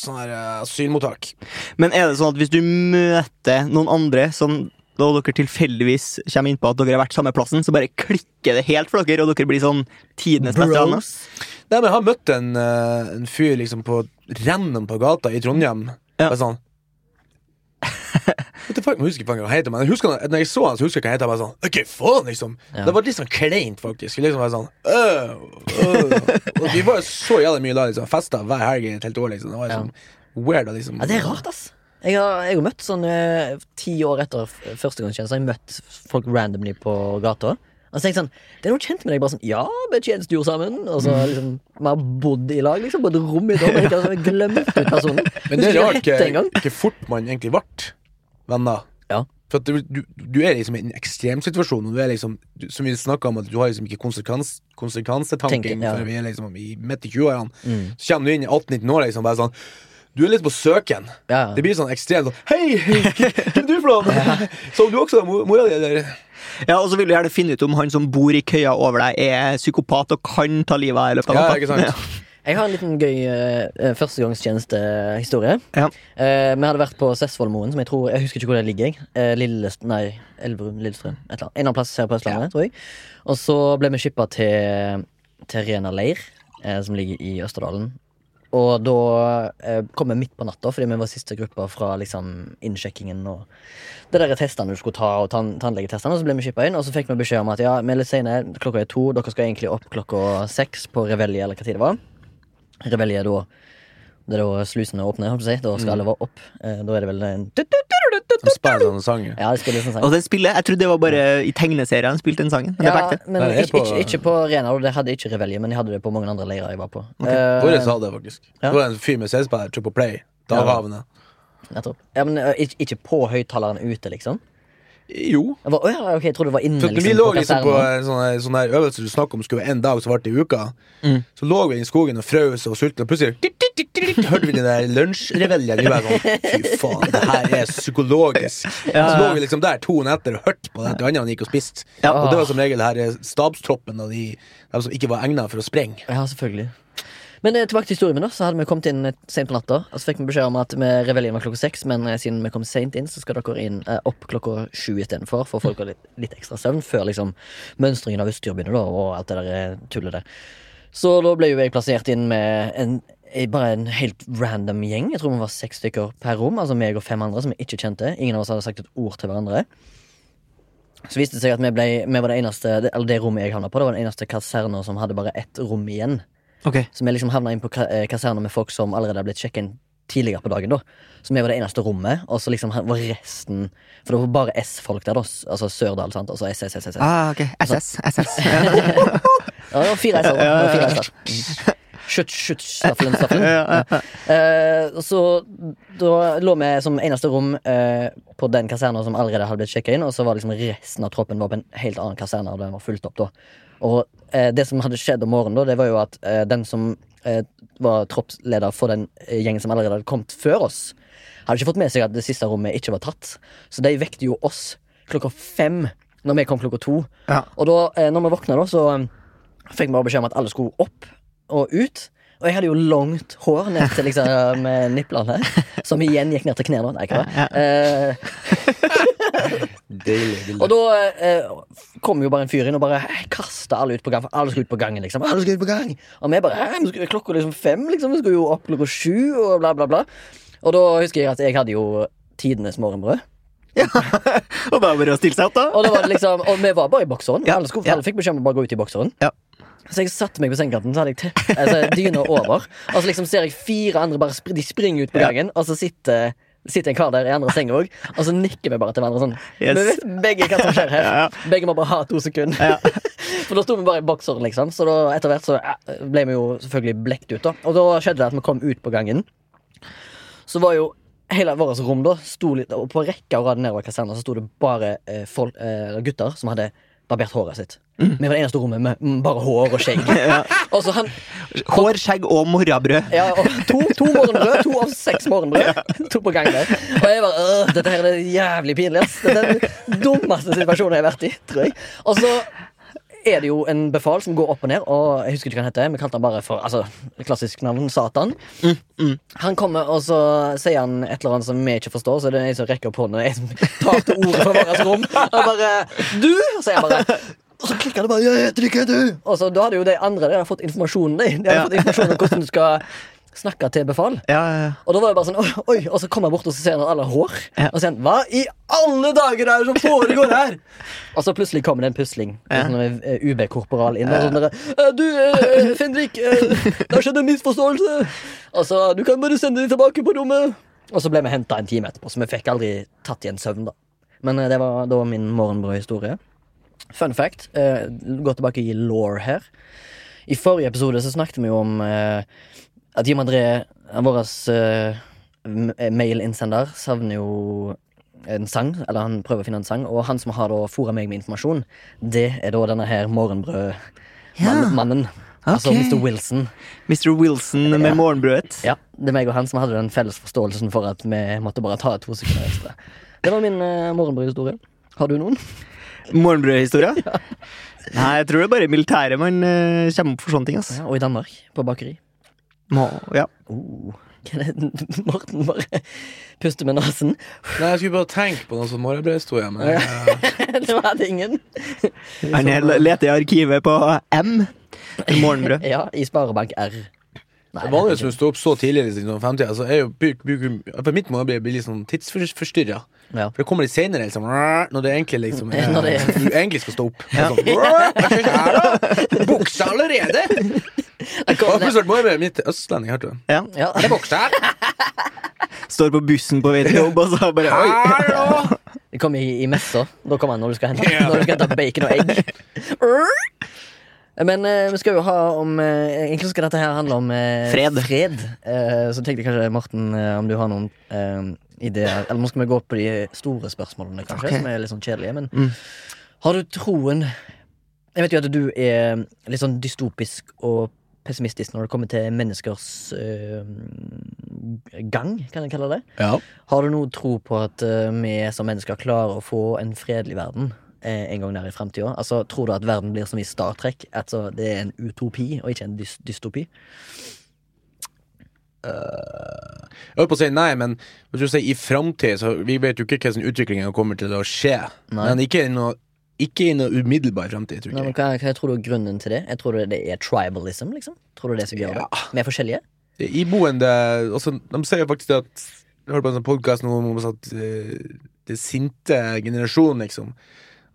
sånn her eh, asylmottak.
Men er det sånn at hvis du møter noen andre som da dere tilfeldigvis kommer innpå at dere har vært samme plassen, så bare klikker det helt for dere, og dere blir sånn tidenes beste venner?
Nei, men jeg har møtt en, eh, en fyr liksom på random på gata i Trondheim.
Ja.
Bare sånn What the fuck, nå husker jeg faen ikke hva han heter, men jeg husker, han- når jeg så han, så husker jeg hva han heter. Jeg bare sånn, ok, faen, liksom.
Ja.
Det var litt sånn kleint, faktisk. Vi Liksom bare sånn, øh, øh. Og vi var jo så jævlig mye da, liksom. Festa hver helg i et helt år, liksom. Det var
Ja.
liksom weird, da, liksom.
Ja, det er rart, ass. Jeg har, jeg har møtt sånn eh, ti år etter f- førstegangstjeneste. Jeg har møtt folk randomly på gata. Og så tenkte jeg sånn, Det er noe kjent med deg. bare sånn, Ja, vi tjenestegjorde sammen. Og
Mm.
så liksom, Vi har bodd i lag, liksom. På et rom i dag. Men ikke, altså, jeg glemte ut personen.
Men
Husker
det er
ikke
rart eh,
hette engang.
ikke, ikke fort man egentlig ble venner.
Ja.
For at du, du, du er liksom i en ekstremsituasjon, og du er liksom, du, som vi snakket om, at du har liksom ikke konsekvens, konsekvensetanking
Tenker, ja. Mm.
før vi er liksom i midt i 20-årene. Så kommer du inn i 18-19 år liksom bare sånn Du er litt på søken.
Ja, ja.
Det blir sånn ekstremt sånn Hei, hvem er du for noe? Så du også mo- mora di, eller?
Ja, og så vil du gjerne finne ut om han som bor i køya over deg, er psykopat og kan ta livet av deg i løpet av
Ja,
natta.
ikke sant?
Jeg har en liten gøy uh, førstegangstjenestehistorie.
Ja.
Eh, vi hadde vært på Sessvollmoen, som jeg tror Jeg husker ikke hvor det ligger. jeg. Eh, Lillest, nei, Elverum, Lillestrøm. Et eller annet. En eller annen plass her på Østlandet, tror jeg. Og så ble vi shippa til, til Rena leir, eh, som ligger i Østerdalen. Og da eh, kom vi midt på natta, fordi vi var siste gruppa fra liksom, innsjekkingen og det der er testene du skulle ta, og tann tannlegetestene. Og så ble vi shippa inn, og så fikk vi beskjed om at ja, vi er litt sene, klokka er to, dere skal egentlig opp klokka seks på revelje, eller hva tid det var. Revelje er da det er da slusene åpner, holdt på å si. Da skal alle være opp. Eh, Da er det vel en
Som spiller sånne sanger.
Ja, det spiller sånn sang.
Og den spillet, jeg trodde det var bare i tegneserien han spilte den sangen. Men det
Ja,
var ekte.
men
Nei, det er
ikke,
på-
ikke, ikke på Rena, og det hadde ikke Revelje, men jeg hadde det på mange andre leirer jeg var på. Eh,
Våre sa det, faktisk.
Ja.
Det var en fyr med CD-spiller, trykk på play. Daghavene.
nettopp. Ja, men eh, ikke, ikke på høyttaleren ute, liksom?
Jo.
Jeg var, å ja, ok, jeg trodde det var inne,
For at når
liksom.
vi lå liksom på
kasernen.
en sånn her- sånn her øvelse du snakket om skulle være en dag som varte i uka, så lå vi i skogen og frøs og sultne, og plutselig titt, titt, titt, titt, titt, hørte vi den der lunsjreveljen. Vi bare sånn Fy faen, det her er psykologisk. Så lå vi liksom der to netter og hørte på det til andre han gikk og spiste. Og det var som regel det her eh, stabstroppen og de, de som ikke var egna for å sprenge.
Ja, selvfølgelig. Men eh, tilbake til historien min, da. Så hadde vi kommet inn eh, sent på natta. Og så fikk vi beskjed om at vi- reveljen var klokka seks, men eh, siden vi kom sent inn, så skal dere inn eh, opp klokka sju istedenfor, for folk har litt, litt ekstra søvn før liksom mønstringen av utstyr begynner, da, og alt det der eh, tullet der. Så da ble jo jeg plassert inn med en eh, bare en helt random gjeng. Jeg tror vi var seks stykker per rom. Altså meg og fem andre som jeg ikke kjente. Ingen av oss hadde sagt et ord til hverandre. Så viste det seg at vi, ble, vi var det eneste det- Eller det rommet jeg havna på, det var den eneste kaserna som hadde bare ett rom igjen.
Ok.
Så vi liksom havna inn på ka- eh, kaserna med folk som allerede hadde blitt sjekka inn tidligere på dagen. da Så vi var det eneste rommet, og så liksom var resten For det var bare S-folk der, da. s- Altså Sørdal, sant. Altså SS, SS, SS.
Ah, ok. SS. SS.
Ja, det var fire S-er. det var fire S-er. Mm. Skytt, skytt, staffelen, staffelen.
Ja.
Eh, så da lå vi som eneste rom eh, på den kaserna som allerede hadde blitt sjekka inn, og så var liksom resten av troppen var på en helt annen kaserne, og den var fulgt opp da. Og eh, det som hadde skjedd om morgenen, da, det var jo at eh, den som eh, var troppsleder for den eh, gjengen som allerede hadde kommet før oss, hadde ikke fått med seg at det siste rommet ikke var tatt. Så de vekte jo oss klokka fem når vi kom klokka to.
Ja.
Og da eh, når vi våkna, da, så eh, fikk vi bare beskjed om at alle skulle opp og ut. Og jeg hadde jo langt hår ned til liksom, eh, niplene, som igjen gikk ned til knærne. Nei, ikke det. Eh,
Deilig.
og da eh, kom jo bare en fyr inn og bare kasta alle ut på gangen. For alle skulle ut på gangen, liksom. Alle skulle ut på gang Og vi bare «Hæ, vi skulle, Klokka liksom fem, liksom. Vi skulle jo opp klokka sju, og bla, bla, bla. Og da husker jeg at jeg hadde jo tidenes morgenbrød.
Og bare bare å stille seg opp, da.
Og, da var det liksom, og vi var bare i bokseren. Alle, skulle,
ja.
alle fikk beskjed om å bare gå ut i bokseren.
Ja.
Så jeg satte meg på sengekanten, så hadde jeg tepp- altså, dyna over. Og så liksom ser jeg fire andre bare spr de springer ut på gangen, og så sitter, sitter en kar der i andre senga òg. Og så nikker vi bare til hverandre sånn.
Yes.
Vi vet begge hva som skjer her.
Ja, ja.
Begge må bare ha to sekunder. For da sto vi bare i bokseren, liksom. Så da, etter hvert så ja, ble vi jo selvfølgelig blekt ut, da. Og da skjedde det at vi kom ut på gangen. Så var jo hele vårt rom da sto litt, Og på rekke og rad nedover kaserna så sto det bare eh, folk, eh, gutter som hadde barbert håret sitt. Vi var det eneste rommet med mm, bare hår og skjegg. Og så han
Hår, skjegg og morrabrød.
ja, og to, to morgenbrød, to av seks morgenbrød. To på gang der. Og jeg bare «Åh, Dette her er det jævlig pinlig. ass. Dette er den dummeste situasjonen jeg har vært i, tror jeg. Og så er det jo en befal som går opp og ned, og jeg husker ikke hva han heter. Vi kalte han bare for altså, klassisk navn Satan. Han kommer, og så sier han et eller annet som vi ikke forstår, så det er en som rekker opp hånda, en som tar til orde fra vårt rom, og bare 'Du!' Og så sier han bare og så klikker det bare 'Jeg heter ikke du!' Og så da hadde jo de andre de hadde fått informasjonen de. De hadde
Ja.
fått informasjon om hvordan du skal snakke til befal.
Ja, ja, ja.
Og da var det bare sånn, oi, oi, og så kom jeg bort og så ser han alle hår. Og så sier han, hva i alle dager er det som foregår her? og så plutselig kommer det en pusling.
Ja.
Sånn eh, UB-korporal inn. Og sånn der, «Eh, du, eh, Fendrik, eh, det har skjedd en misforståelse. Og så, du kan bare sende dem tilbake på rommet. Og så ble vi hentet en time etterpå, så vi fikk aldri tatt igjen søvn da. Men eh, det var da min morgenbrødhistorie. Fun fact, eh, gå tilbake i law her. I forrige episode så snakket vi jo om eh, at Jim André, vår mailinnsender, savner jo en sang. Eller han prøver å finne en sang, og han som har da fora meg med informasjon, det er da denne her
Ja.
morgenbrødmannen. Altså
Ok.
Mr. Wilson.
Mr. Wilson med morgenbrødet.
Ja, Det er meg og han som hadde den felles forståelsen for at vi måtte bare ta to sekunder ekstra. Det var min eh, morgenbrødhistorie. Har du noen?
Morgenbrødhistorie? Nei, jeg tror det er bare militæret man eh, kommer opp for sånne ting. ass.
Ja, og i Danmark, på bakeri.
Må, ja.
Oh. Morten bare puster med nesen.
Nei, jeg skulle bare tenke på noe sånn morgenbrødhistorie, men eh,
Det hadde ingen.
Han er- leter i arkivet på M. Morgenbrød.
Ja, i Sparebank R. Nei,
vanligvis når du står opp så tidlig liksom, om femtida, så er jo bruk, bruk, på mitt måte blir jeg litt sånn tidsforstyrra.
Ja.
For det kommer litt seinere, liksom, når det egentlig liksom er,
Når det
du egentlig skal stå opp. Sånn, Buksa allerede!
Jeg kom
Og
ned-
plutselig morgenbrødet mitt er østlending, hørte du.
Ja.
Ja.
Det er buksa her!
Står på bussen på vei til jobb, og så bare Oi!
Hallo!
Det kom i, i messa. Da kom han når du skal hente,
Ja.
når du skal hente bacon og egg. Men eh, vi skal jo ha om eh, Egentlig skal dette her handle om eh,
Fred.
Eh, så tenkte jeg kanskje, Morten, eh, om du har noen eh, ideer Eller nå skal vi gå på de store spørsmålene, kanskje,
Ok. Mm.
som er litt sånn kjedelige. Men har du troen Jeg vet jo at du er litt sånn dystopisk og pessimistisk når det kommer til menneskers eh, gang, kan jeg kalle det.
Ja.
Har du noe tro på at eh, vi som mennesker klarer å få en fredelig verden eh, en gang nær i fremtiden? Altså, tror du at verden blir som i Star Trek? Altså, det er en utopi og ikke en dys dystopi?
Jeg holdt på å si nei, men hvis du sier i framtid, så vi vet jo ikke hvordan utviklingen kommer til å skje.
Nei.
Men ikke i noe, ikke i noe umiddelbar framtid, tror
Nei, men
jeg.
hva, hva tror du er grunnen til det? Jeg tror det det er tribalism, liksom. Tror du det er det som gjør
Ja.
det? Vi er forskjellige?
Det er Iboende altså, De sier faktisk det at Jeg hørte på en sånn podkast nå om at eh, det sinte generasjonen, liksom.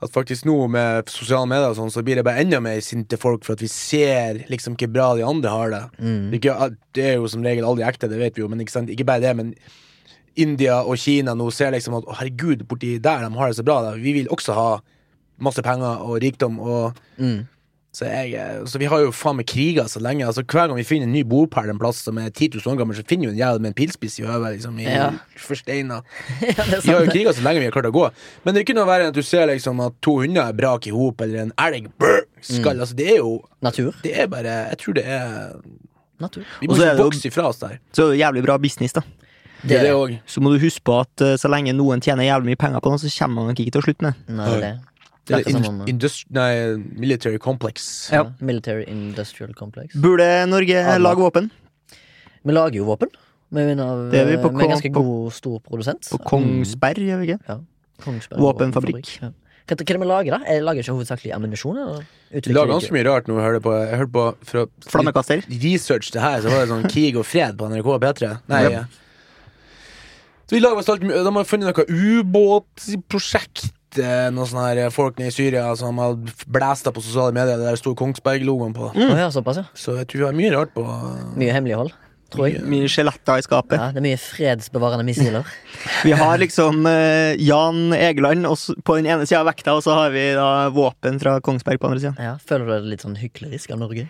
At faktisk nå med sosiale medier og sånn, så blir det bare enda mer sinte folk for at vi ser liksom hvor bra de andre har det. Det er Ikke, det er jo som regel aldri ekte, det vet vi jo, men ikke, sant? ikke bare det. men India og Kina nå ser liksom at å, herregud, borti der de har det så bra, da. vi vil også ha masse penger og rikdom. Og, så, jeg, eh, så vi har jo faen meg kriga så lenge. Altså, hver gang vi finner en ny bopæl en plass som er 10 000 år gammel, så finner vi en jævel med en pilspiss i øyet. Liksom, i
Ja.
forsteina.
ja, det er
Vi har jo
sant. det.
kriga så lenge vi har klart å gå. Men det er ikke noe verre enn at du ser liksom, at to hunder er brak i hop, eller en elg brr,
Mm.
skall. Altså, det er jo
Natur.
det er bare Jeg tror det er
Natur.
Vi
Og
må
så er
ikke
det jo-
vokse ifra oss der.
Så er det jo jævlig bra business, da.
Det er det òg.
Så må du huske på at eh, så lenge noen tjener jævlig mye penger på noe, så kommer man nok ikke til å slutte med det.
Nei, det er det.
Det
Snakker
er
sammen om-
indust- indust- Nei, military complex.
Ja.
sånn, eh, Military Industrial Complex.
Burde Norge lage våpen?
Vi lager jo våpen. Vi er en av-
Det er vi på
vi er en ganske
Kong- på-
god, stor produsent.
På Kongsberg, gjør vi ikke?
Kongsberg
Våpenfabrikk.
Ja. Hva, hva er det vi lager, da? Jeg lager ikke hovedsakelig ammunisjon? eller?
Vi
Utvikler
lager
ikke-
ganske mye rart nå. Jeg hørte på, jeg hørte på fra
Flammekaster?
research det her, så var det sånn krig og fred på NRK og P3. Nei,
Ja.
ja. Så vi lager oss alt mye De har funnet noe ubåtprosjekt. eh, Noen sånne her folk nede i Syria som har blæsta på sosiale medier. Det der sto Kongsberg-logoen på.
Mm.
Å ja, såpass, ja.
Så jeg tror vi har mye rart på
Mye hemmelighold, tror jeg.
Mye skjeletter i skapet.
Ja, det er mye fredsbevarende missiler.
Vi har liksom eh, Jan Egeland og s- på den ene sida av vekta, og så har vi da våpen fra Kongsberg på andre sida.
Ja, føler du det er litt sånn hyklerisk av Norge?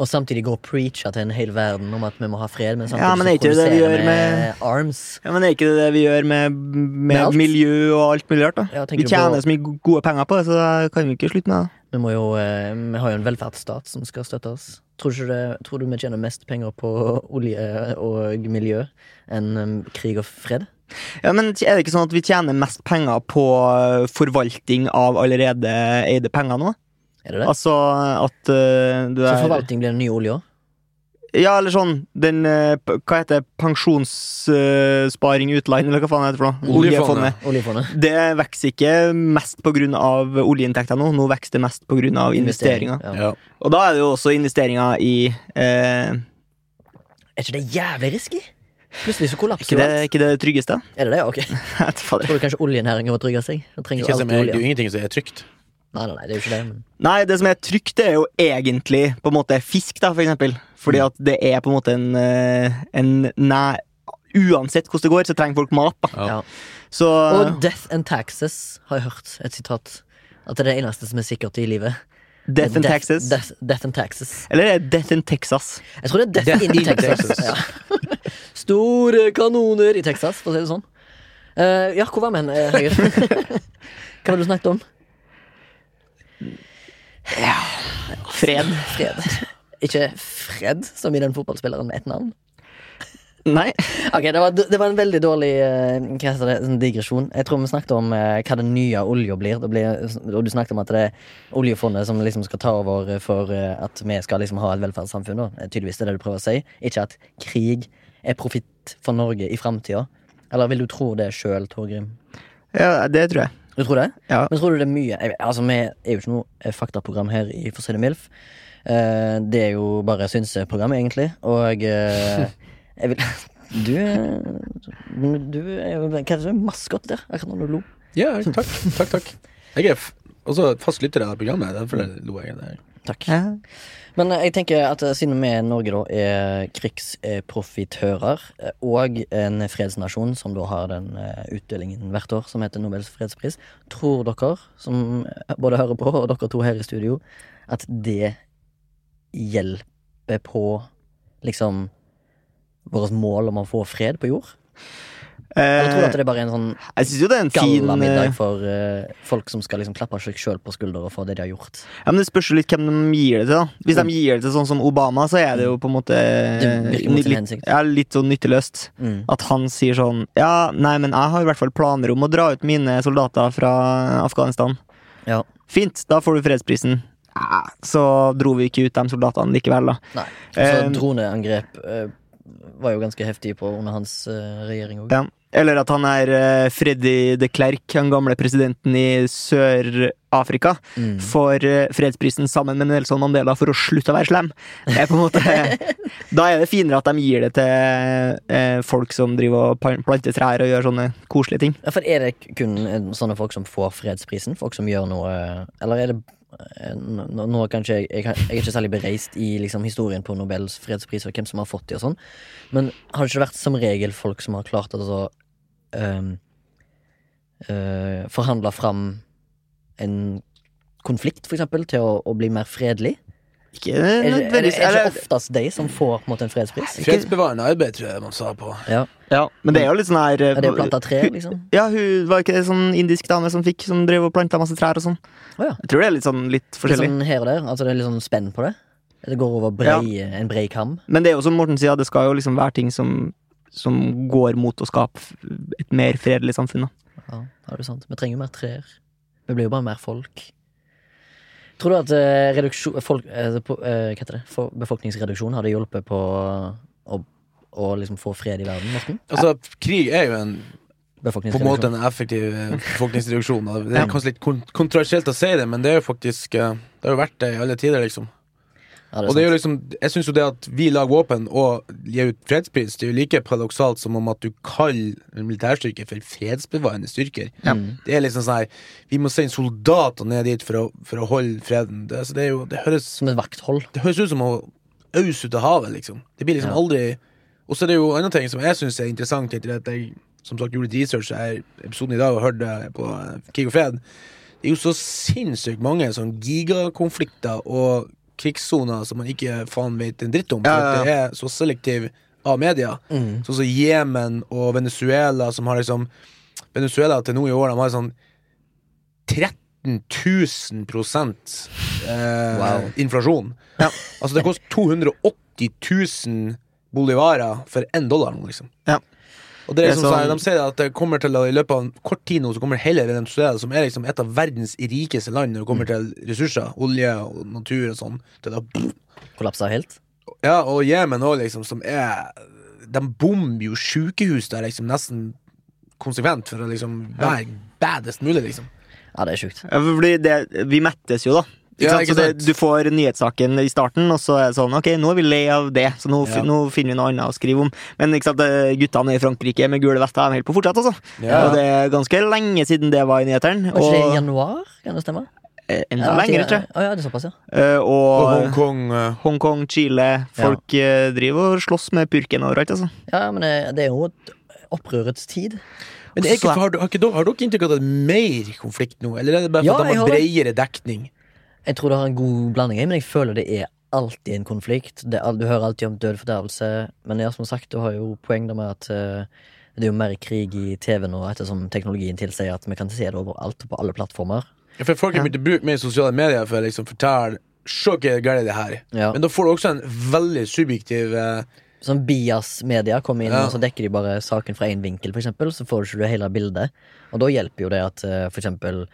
Og samtidig gå og preache til en hel verden om at vi må ha fred, men samtidig
Ja,
så
men er ikke det det vi
produserer
gjør
vi
med-
arms.
Ja, men er ikke det det vi gjør med, med,
alt?
miljø og alt mulig rart? da?
Ja, tenker
vi
du
tjener
på-
så mye gode penger på det, så da kan vi ikke slutte med det.
Vi, må jo, eh, vi har jo en velferdsstat som skal støtte oss. Tror, ikke det, tror du vi tjener mest penger på olje og miljø enn eh, krig og fred?
Ja, men Er det ikke sånn at vi tjener mest penger på eh, forvalting av allerede eide penger nå?
Er det det?
Altså at eh, det
Så
der
forvaltning blir den nye olja?
Ja, eller sånn den eh, p- Hva heter det? Pensjonssparing utland, eller hva faen heter det for noe?
Oljefondet.
Oljefondet?
Det vokser ikke mest pga. oljeinntekter nå, nå vokser det mest pga. investeringer.
Ja.
Ja.
Og da er det jo også investeringer i eh,
Er ikke det jævlig risky? Plutselig så kollapser jo
ikke, det,
alt.
ikke det tryggeste?
Er det det? Ok.
Jeg vet fader.
Tror du kanskje oljenæringen må trygge seg? Den trenger
Ikke
jo
som
alltid
er, det er
olje.
jo ingenting som er trygt.
Nei, nei, nei, det er jo ikke det. Men...
Nei, det som er trygt, det er jo egentlig på en måte fisk, da, for eksempel.
Mm.
Fordi at det er på en måte en, eh, en Nei, uansett hvordan det går, så trenger folk mat, da.
Ja.
Ja.
Så eh,
Og death and taxes har jeg hørt et sitat. At det er det eneste som er sikkert i livet.
Death in Texas.
Death, death and taxes.
Eller er det Death in Texas?
Jeg tror det er death,
Death
in
in
Texas.
Texas.
Ja. Store kanoner i Texas, for å si det sånn. Eh, ja, hvor var vi hen, eh, Høyre? Hva var det du snakket om?
Fred?
Fred. Ikke Fred, som i den fotballspilleren med ett navn.
Nei.
Ok, Det var, det var en veldig dårlig eh, hva heter det, sånn digresjon. Jeg tror vi snakket om eh, hva den nye olja blir. Det blir. Og du snakket om at det er oljefondet som liksom skal ta over for eh, at vi skal liksom ha et velferdssamfunn. Da. Eh, Tydeligvis det er det du prøver å si. Ikke at krig er profitt for Norge i framtida. Eller vil du tro det sjøl, Torgrim?
Ja, det tror jeg.
Du tror det?
Ja.
Men tror du det er mye jeg, Altså, vi er jo ikke noe eh, faktaprogram her i For å si det MILF. Eh, det er jo bare synseprogram, egentlig. Og eh, jeg vil Du er- men Du er jo Hva er det du er maskot der? Akkurat når du lo.
Ja, takk. Takk, takk. Jeg er f også fast lytter av det programmet. Derfor lo jeg der.
Takk.
Ja.
Men eh, jeg tenker at eh, siden vi i Norge da er krigsprofitører eh, og en fredsnasjon som da har den eh, utdelingen hvert år som heter Nobels fredspris, tror dere som eh, både hører på og dere to her i studio, at det hjelper på liksom vårt mål om å få fred på jord? Eller tror du
Eh,
at det er bare en sånn
jeg syns jo det er en fin
galla
eh,
middag for eh, folk som skal liksom klappe seg sjøl på skuldra for det de har gjort?
Ja, men Det spørs jo litt hvem de gir det til. da Hvis de gir det til sånn som Obama, så er det jo på en måte
Mm. Det virker mot sin
litt,
hensikt.
ja, litt sånn nytteløst.
Mm.
At han sier sånn Ja, nei, men jeg har i hvert fall planer om å dra ut mine soldater fra Afghanistan.
Ja.
Fint, da får du fredsprisen. Ja, Så dro vi ikke ut de soldatene likevel, da.
Nei. Altså,
Eh,
droneangrep eh, var jo ganske heftig på under hans eh, regjering òg.
Ja. Eller at han er eh, Freddy de Klerk, han gamle presidenten i Sør-Afrika, får eh, fredsprisen sammen med Nelson Mandela for å slutte å være slem. Det er på en måte, da er det finere at de gir det til eh, folk som driver og pan- planter trær og gjør sånne koselige ting.
Ja, for er det kun eh, sånne folk som får fredsprisen? Folk som gjør noe Eller er det eh, nå, nå kanskje jeg, jeg, kan- jeg er ikke særlig bereist i liksom, historien på Nobels fredspris og hvem som har fått de og sånn, men har det ikke vært som regel folk som har klart å altså, um, eh, forhandle fram en konflikt, for eksempel, til å, å bli mer fredelig?
Ikke
Er, er, er, det-
nødvendigvis.
er det
Eller,
ikke oftest de som får på en, måte, en fredspris?
Fredsbevarende arbeid, tror jeg man sa på.
Ja.
ja, men det er jo litt sånn her eh,
Er det å plante tre, liksom?
Ja, hun var ikke det sånn indisk dame som fikk, som drev og planta masse trær og sånn.
Å ja.
Jeg tror det er litt sånn litt
Litt
forskjellig.
sånn her og der. Altså det er litt sånn spenn på det. Det går over brei, en brei kam.
Men det er jo som Morten sier, det skal jo liksom være ting som, som går mot å skape f- et mer fredelig samfunn. Da.
Ja, det er jo sant. Vi trenger jo mer trær. Vi blir jo bare mer folk. Tror du at eh, reduksjon folk, eh, på, eh, Hva heter det? For befolkningsreduksjon hadde hjulpet på å, å liksom få fred i verden, Morten?
Altså, krig er jo en på en måte
Befolkningsreduksjon.
en effektiv eh, befolkningsreduksjon. da. Det er kanskje litt kon- kontroversielt å si det, men det er jo faktisk eh, Det har jo vært det i alle tider, liksom.
Ja,
Og det
sant.
er jo liksom, jeg synes jo det at vi lager våpen og gir ut fredspris, det er jo like paradoksalt som om at du kaller en militærstyrke for fredsbevarende styrker.
Mm.
Det er liksom sånn her, vi må sende soldater ned dit for å, for å holde freden. Det, altså det, er jo, det, høres,
Som et vakthold.
det høres ut som å ause ut av havet, liksom. Det blir liksom aldri Og så er det jo andre ting som jeg synes er interessant, etter at jeg som sagt gjorde litt research jeg, episoden i dag og hørte på eh, Krig og fred. Det er jo så sinnssykt mange sånn gigakonflikter og krigssoner som man ikke faen vet en dritt om.
Ja,
for
ja, ja.
at Det er så selektiv av media.
Mm.
Mm.
Sånn som Jemen og Venezuela, som har liksom Venezuela til nå i år, de har sånn 13 000 prosent eh,
Wow.
inflasjon. Altså, det koster 280 000 bolivarer for én dollar nå, liksom.
Ja.
Og det er
Det er
liksom, sånn,
sånn-
De sier at det kommer til å, i løpet av kort tid nå så kommer hele Venezuela, som er liksom et av verdens rikeste land når det kommer til ressurser, olje og natur og sånn, til å
Kollapsa helt.
ja, og Jemen òg, liksom, som er De bomber jo sykehus der liksom nesten konsekvent for å liksom være baddest mulig, liksom.
Ja, det er sjukt.
Ja, for fordi det, vi mettes jo, da. Ikke
Ja,
sant?
ikke
så det,
sant.
du får nyhetssaken i starten, og så er det sånn Ok, nå er vi lei av det, så nå, fi-
Ja.
nå finner vi noe annet å skrive om. Men ikke sant, det- guttene i Frankrike med gule vester de holder på fortsatt, altså.
Ja.
Og det er ganske lenge siden det var i nyhetene.
Var ikke det i
Og
januar? Kan det stemme?
eh, enda
Ja, til-
lenger, tror jeg.
Å, ja, det er såpass, ja.
Eh,
Og
Og
Hongkong eh,
Hongkong, Chile Folk eh, driver og slåss med purken overalt, altså.
ja men det, det er jo et opprørets tid.
Men det er ikke,
Også-
for, har, du- har, ikke, dere- har dere inntrykk av at det er mer konflikt nå, eller er det bare for
Ja,
at de
jeg har
har
det.
bredere dekning?
Jeg tror det har en god blanding, i, men jeg føler det er alltid en konflikt. Det er, al- du hører alltid om død og fordervelse, men ja, som sagt, du har jo poeng der med at eh, det er jo mer krig i TV nå, ettersom teknologien tilsier at vi kan se det overalt og på alle plattformer.
Ja, For folk har begynt å bruke mer sosiale medier for å liksom fortelle Se hva galt det her.
Ja.
Men da får du også en veldig subjektiv eh,
Sånn bias-media kommer inn,
Ja.
og så dekker de bare saken fra én vinkel, for eksempel, så får du ikke det hele bildet. Og da hjelper jo det at eh, for eksempel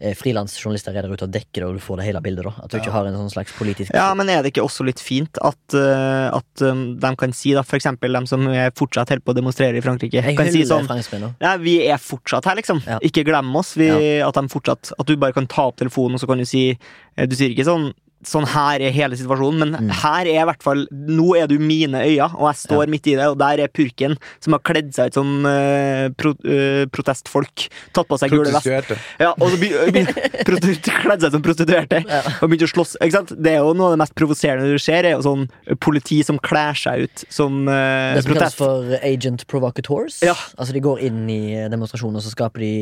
eh, frilansjournalister er der ute og dekker det, og du får det hele bildet, da. At du ikke har en sånn slags politisk
Ja, men er det ikke også litt fint at, eh, at eh, de kan si, da, for eksempel de som er fortsatt holder på å demonstrere i Frankrike,
Jeg
kan si
hyller
sånn
franskmenn nå.
Nei, vi er fortsatt her, liksom.
Ja.
Ikke glem oss. Vi, At de fortsatt At du bare kan ta opp telefonen, og så kan du si eh, Du sier ikke sånn Sånn her er hele situasjonen, men her er i hvert fall Nå er du mine øyne, og jeg står midt i det, og der er purken som har kledd seg ut som eh, pro, eh, protestfolk. Tatt på seg gule vest.
prostituerte.
Ja, og så begy- begyn- prostitu- kledd seg som prostituerte og begynte å slåss. Ikke sant? Det er jo noe av det mest provoserende du ser, er jo sånn politi som kler seg ut som eh,
Det som kalles
protest.
for agent provocateurs.
Ja.
Altså De går inn i demonstrasjoner, så skaper de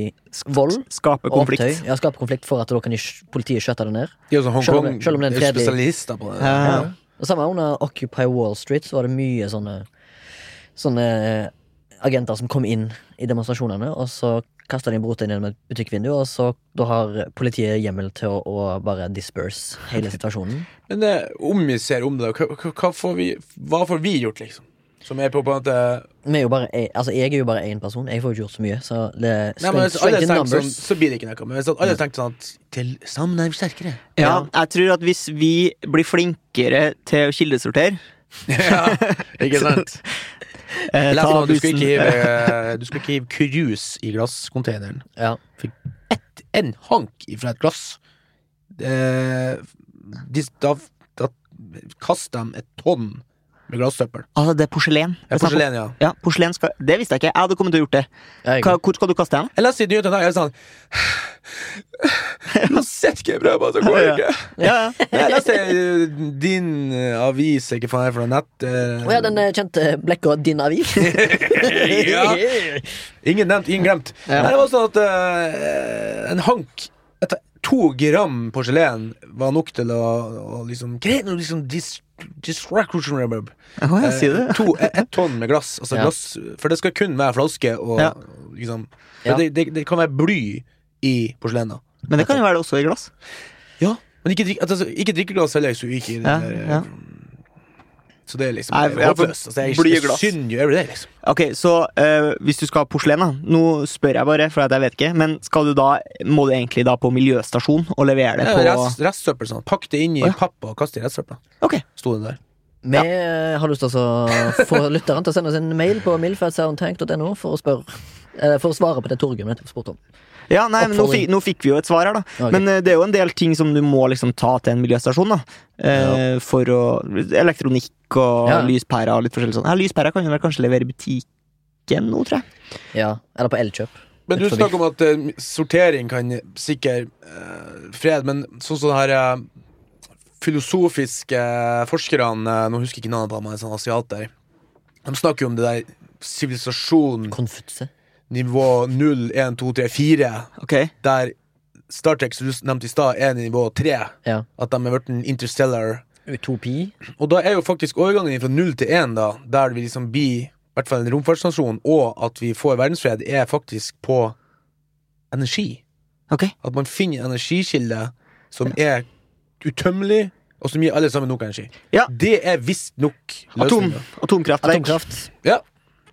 vold
Skape
og opptøy.
konflikt.
Ja, skaper konflikt for at da kan de, politiet skjøtte det ned.
De er jo
Selv
sånn
om
Hongkong,
det- selv om det er en
er jo
fredelig-
spesialister på det.
Ja.
Og samme under Occupy Wall Street så var det mye sånne Sånne eh, agenter som kom inn i demonstrasjonene, og så kasta de en brotein gjennom et butikkvindu, og så da har politiet hjemmel til å, å bare disperse hele situasjonen.
Men det, om vi ser om det, hva, hva- hva, får vi, hva får vi gjort, liksom? Som er på på en måte
Vi er jo bare, jeg, altså jeg er jo bare én person, jeg får jo ikke gjort så mye, så det
Nei, men
strength,
hvis alle
strength in
tenker sånn,
numbers.
så blir det ikke noe. Men hvis alle tenker sånn at Til sammen er vi sterkere.
Ja, jeg tror at hvis vi blir flinkere til å kildesortere
ja, ikke sant?
eh,
Jeg leste
ta
nå at du
bussen- Eh,
skulle ikke hive, eh, du skulle ikke hive krus i glasscontaineren.
Ja.
En hank ifra et glass. Eh, de, da, da kast dem et tonn med glassøppel.
Altså, det er porselen.
Ja, Porselen, ja.
Ja, porselen skal Det visste jeg ikke. Jeg hadde kommet til å gjort det.
Jeg,
Hva, hvor skal du kaste den?
Jeg leste i nyhetene i dag, jeg er sånn Uansett hva jeg prøver på, så går det ikke.
Ja, ja.
Nei, Jeg leste eh, din eh, avis, ikke faen jeg for noe nett eh,
Å ja, den eh, kjente blekka Din Avis.
Ja. Ingen nevnt, ingen glemt. Nei, det var sånn at eh, en hank etter to gram porselen var nok til å, å liksom Greit, nå liksom dis, disracrution rebub.
Å, jeg sier
Eh,
det.
to, ett tonn med glass, altså
Ja.
glass For det skal kun være flaske og
Ja.
liksom for
Ja.
det, det, det kan være bly i porselena.
Men det kan jo være det også i glass.
Ja. Men ikke, drikk- altså, ikke drikkeglass heller, så ikke i den
Ja,
der, eh,
ja.
Så det er liksom
Nei,
det er
ja, for
håpløst. Altså, jeg,
bly i
jeg,
glass.
synd jo every day, liksom.
Ok, Så eh, hvis du skal ha porselen, da Nå spør jeg bare, for at jeg vet ikke. Men skal du da, må du egentlig da på miljøstasjon og levere det
Ja,
på
rest- Restsøppel. Sånn. Pakk det inn i
Å, ja.
papp og kast det i restsøpla.
Ok.
Sto det der.
Vi eh, har lyst til å få lytteren til å sende oss en mail på milfatsoundtank.no for å spørre eh, For å svare på det Torgrim nettopp spurte om.
Ja, nei, men nå,
Oppfordring.
fikk, nå fikk vi jo et svar her, da.
Ok.
Men eh, det er jo en del ting som du må liksom ta til en miljøstasjon. da eh, For å Elektronikk og
Ja.
lyspærer og litt forskjellig sånn. Ja, lyspærer kan jo vel kanskje levere i butikken nå, tror jeg.
Ja, Eller på Elkjøp.
Men du
Litt forbi.
snakker om at eh, sortering kan sikre eh, fred, men sånn som det her eh, filosofiske forskerne eh, Nå husker jeg ikke navnet på dem, men en sånn asiat der. De snakker jo om det der sivilisasjon
Konfutse.
nivå 0, 1, 2, 3, 4,
Ok
der Star Trek som du nevnte i stad, er nivå tre.
Ja.
At de er blitt en interstellar.
Utopi.
Og da er jo faktisk overgangen fra null til én, da, der vi liksom blir i hvert fall en romfartsnasjon, og at vi får verdensfred, er faktisk på energi.
Ok.
At man finner en energikilde som er utømmelig, og som gir alle sammen nok energi.
Ja.
Det er visstnok
Atom,
løsninga.
atomkraftverk.
Atomkraft.
Ja.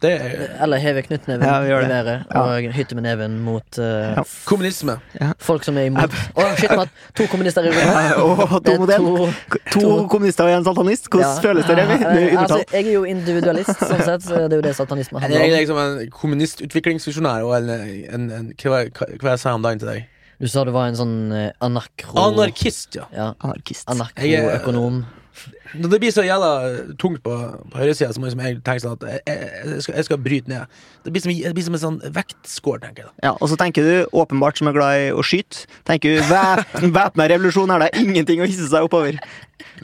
Det er
Eller heve knyttneven
Ja, vi gjør
i
det.
været og hytte med neven mot eh,
Ja.
kommunisme.
folk som er imot Å, shit, man. To kommunister i rommet.
Og
Det
to
er
modell.
to-
To kommunister og en satanist. Hvordan
Ja.
føles det? Remi?
Ja,
Du er
eh, altså,
undertalt.
jeg er jo individualist, sånn sett. Så det er jo det satanisme
Jeg er
handler om.
liksom en kommunistutviklingsvisjonær og en, en, en Hva var- hva- hva jeg sa jeg om dagen til deg?
Du sa du var en sånn eh, anakro...
Anarkist, ja.
Ja,
Anarkist.
anakroøkonom.
Når det blir så jævla tungt på, på høyresida, så må liksom jeg tenke sånn at jeg, jeg, jeg, skal, jeg skal bryte ned. Det blir som, det blir som en sånn vektskål, tenker jeg. da.
Ja, og så tenker du, åpenbart som er glad i å skyte, tenker du, væp- væpna revolusjon er det ingenting å hisse seg oppover.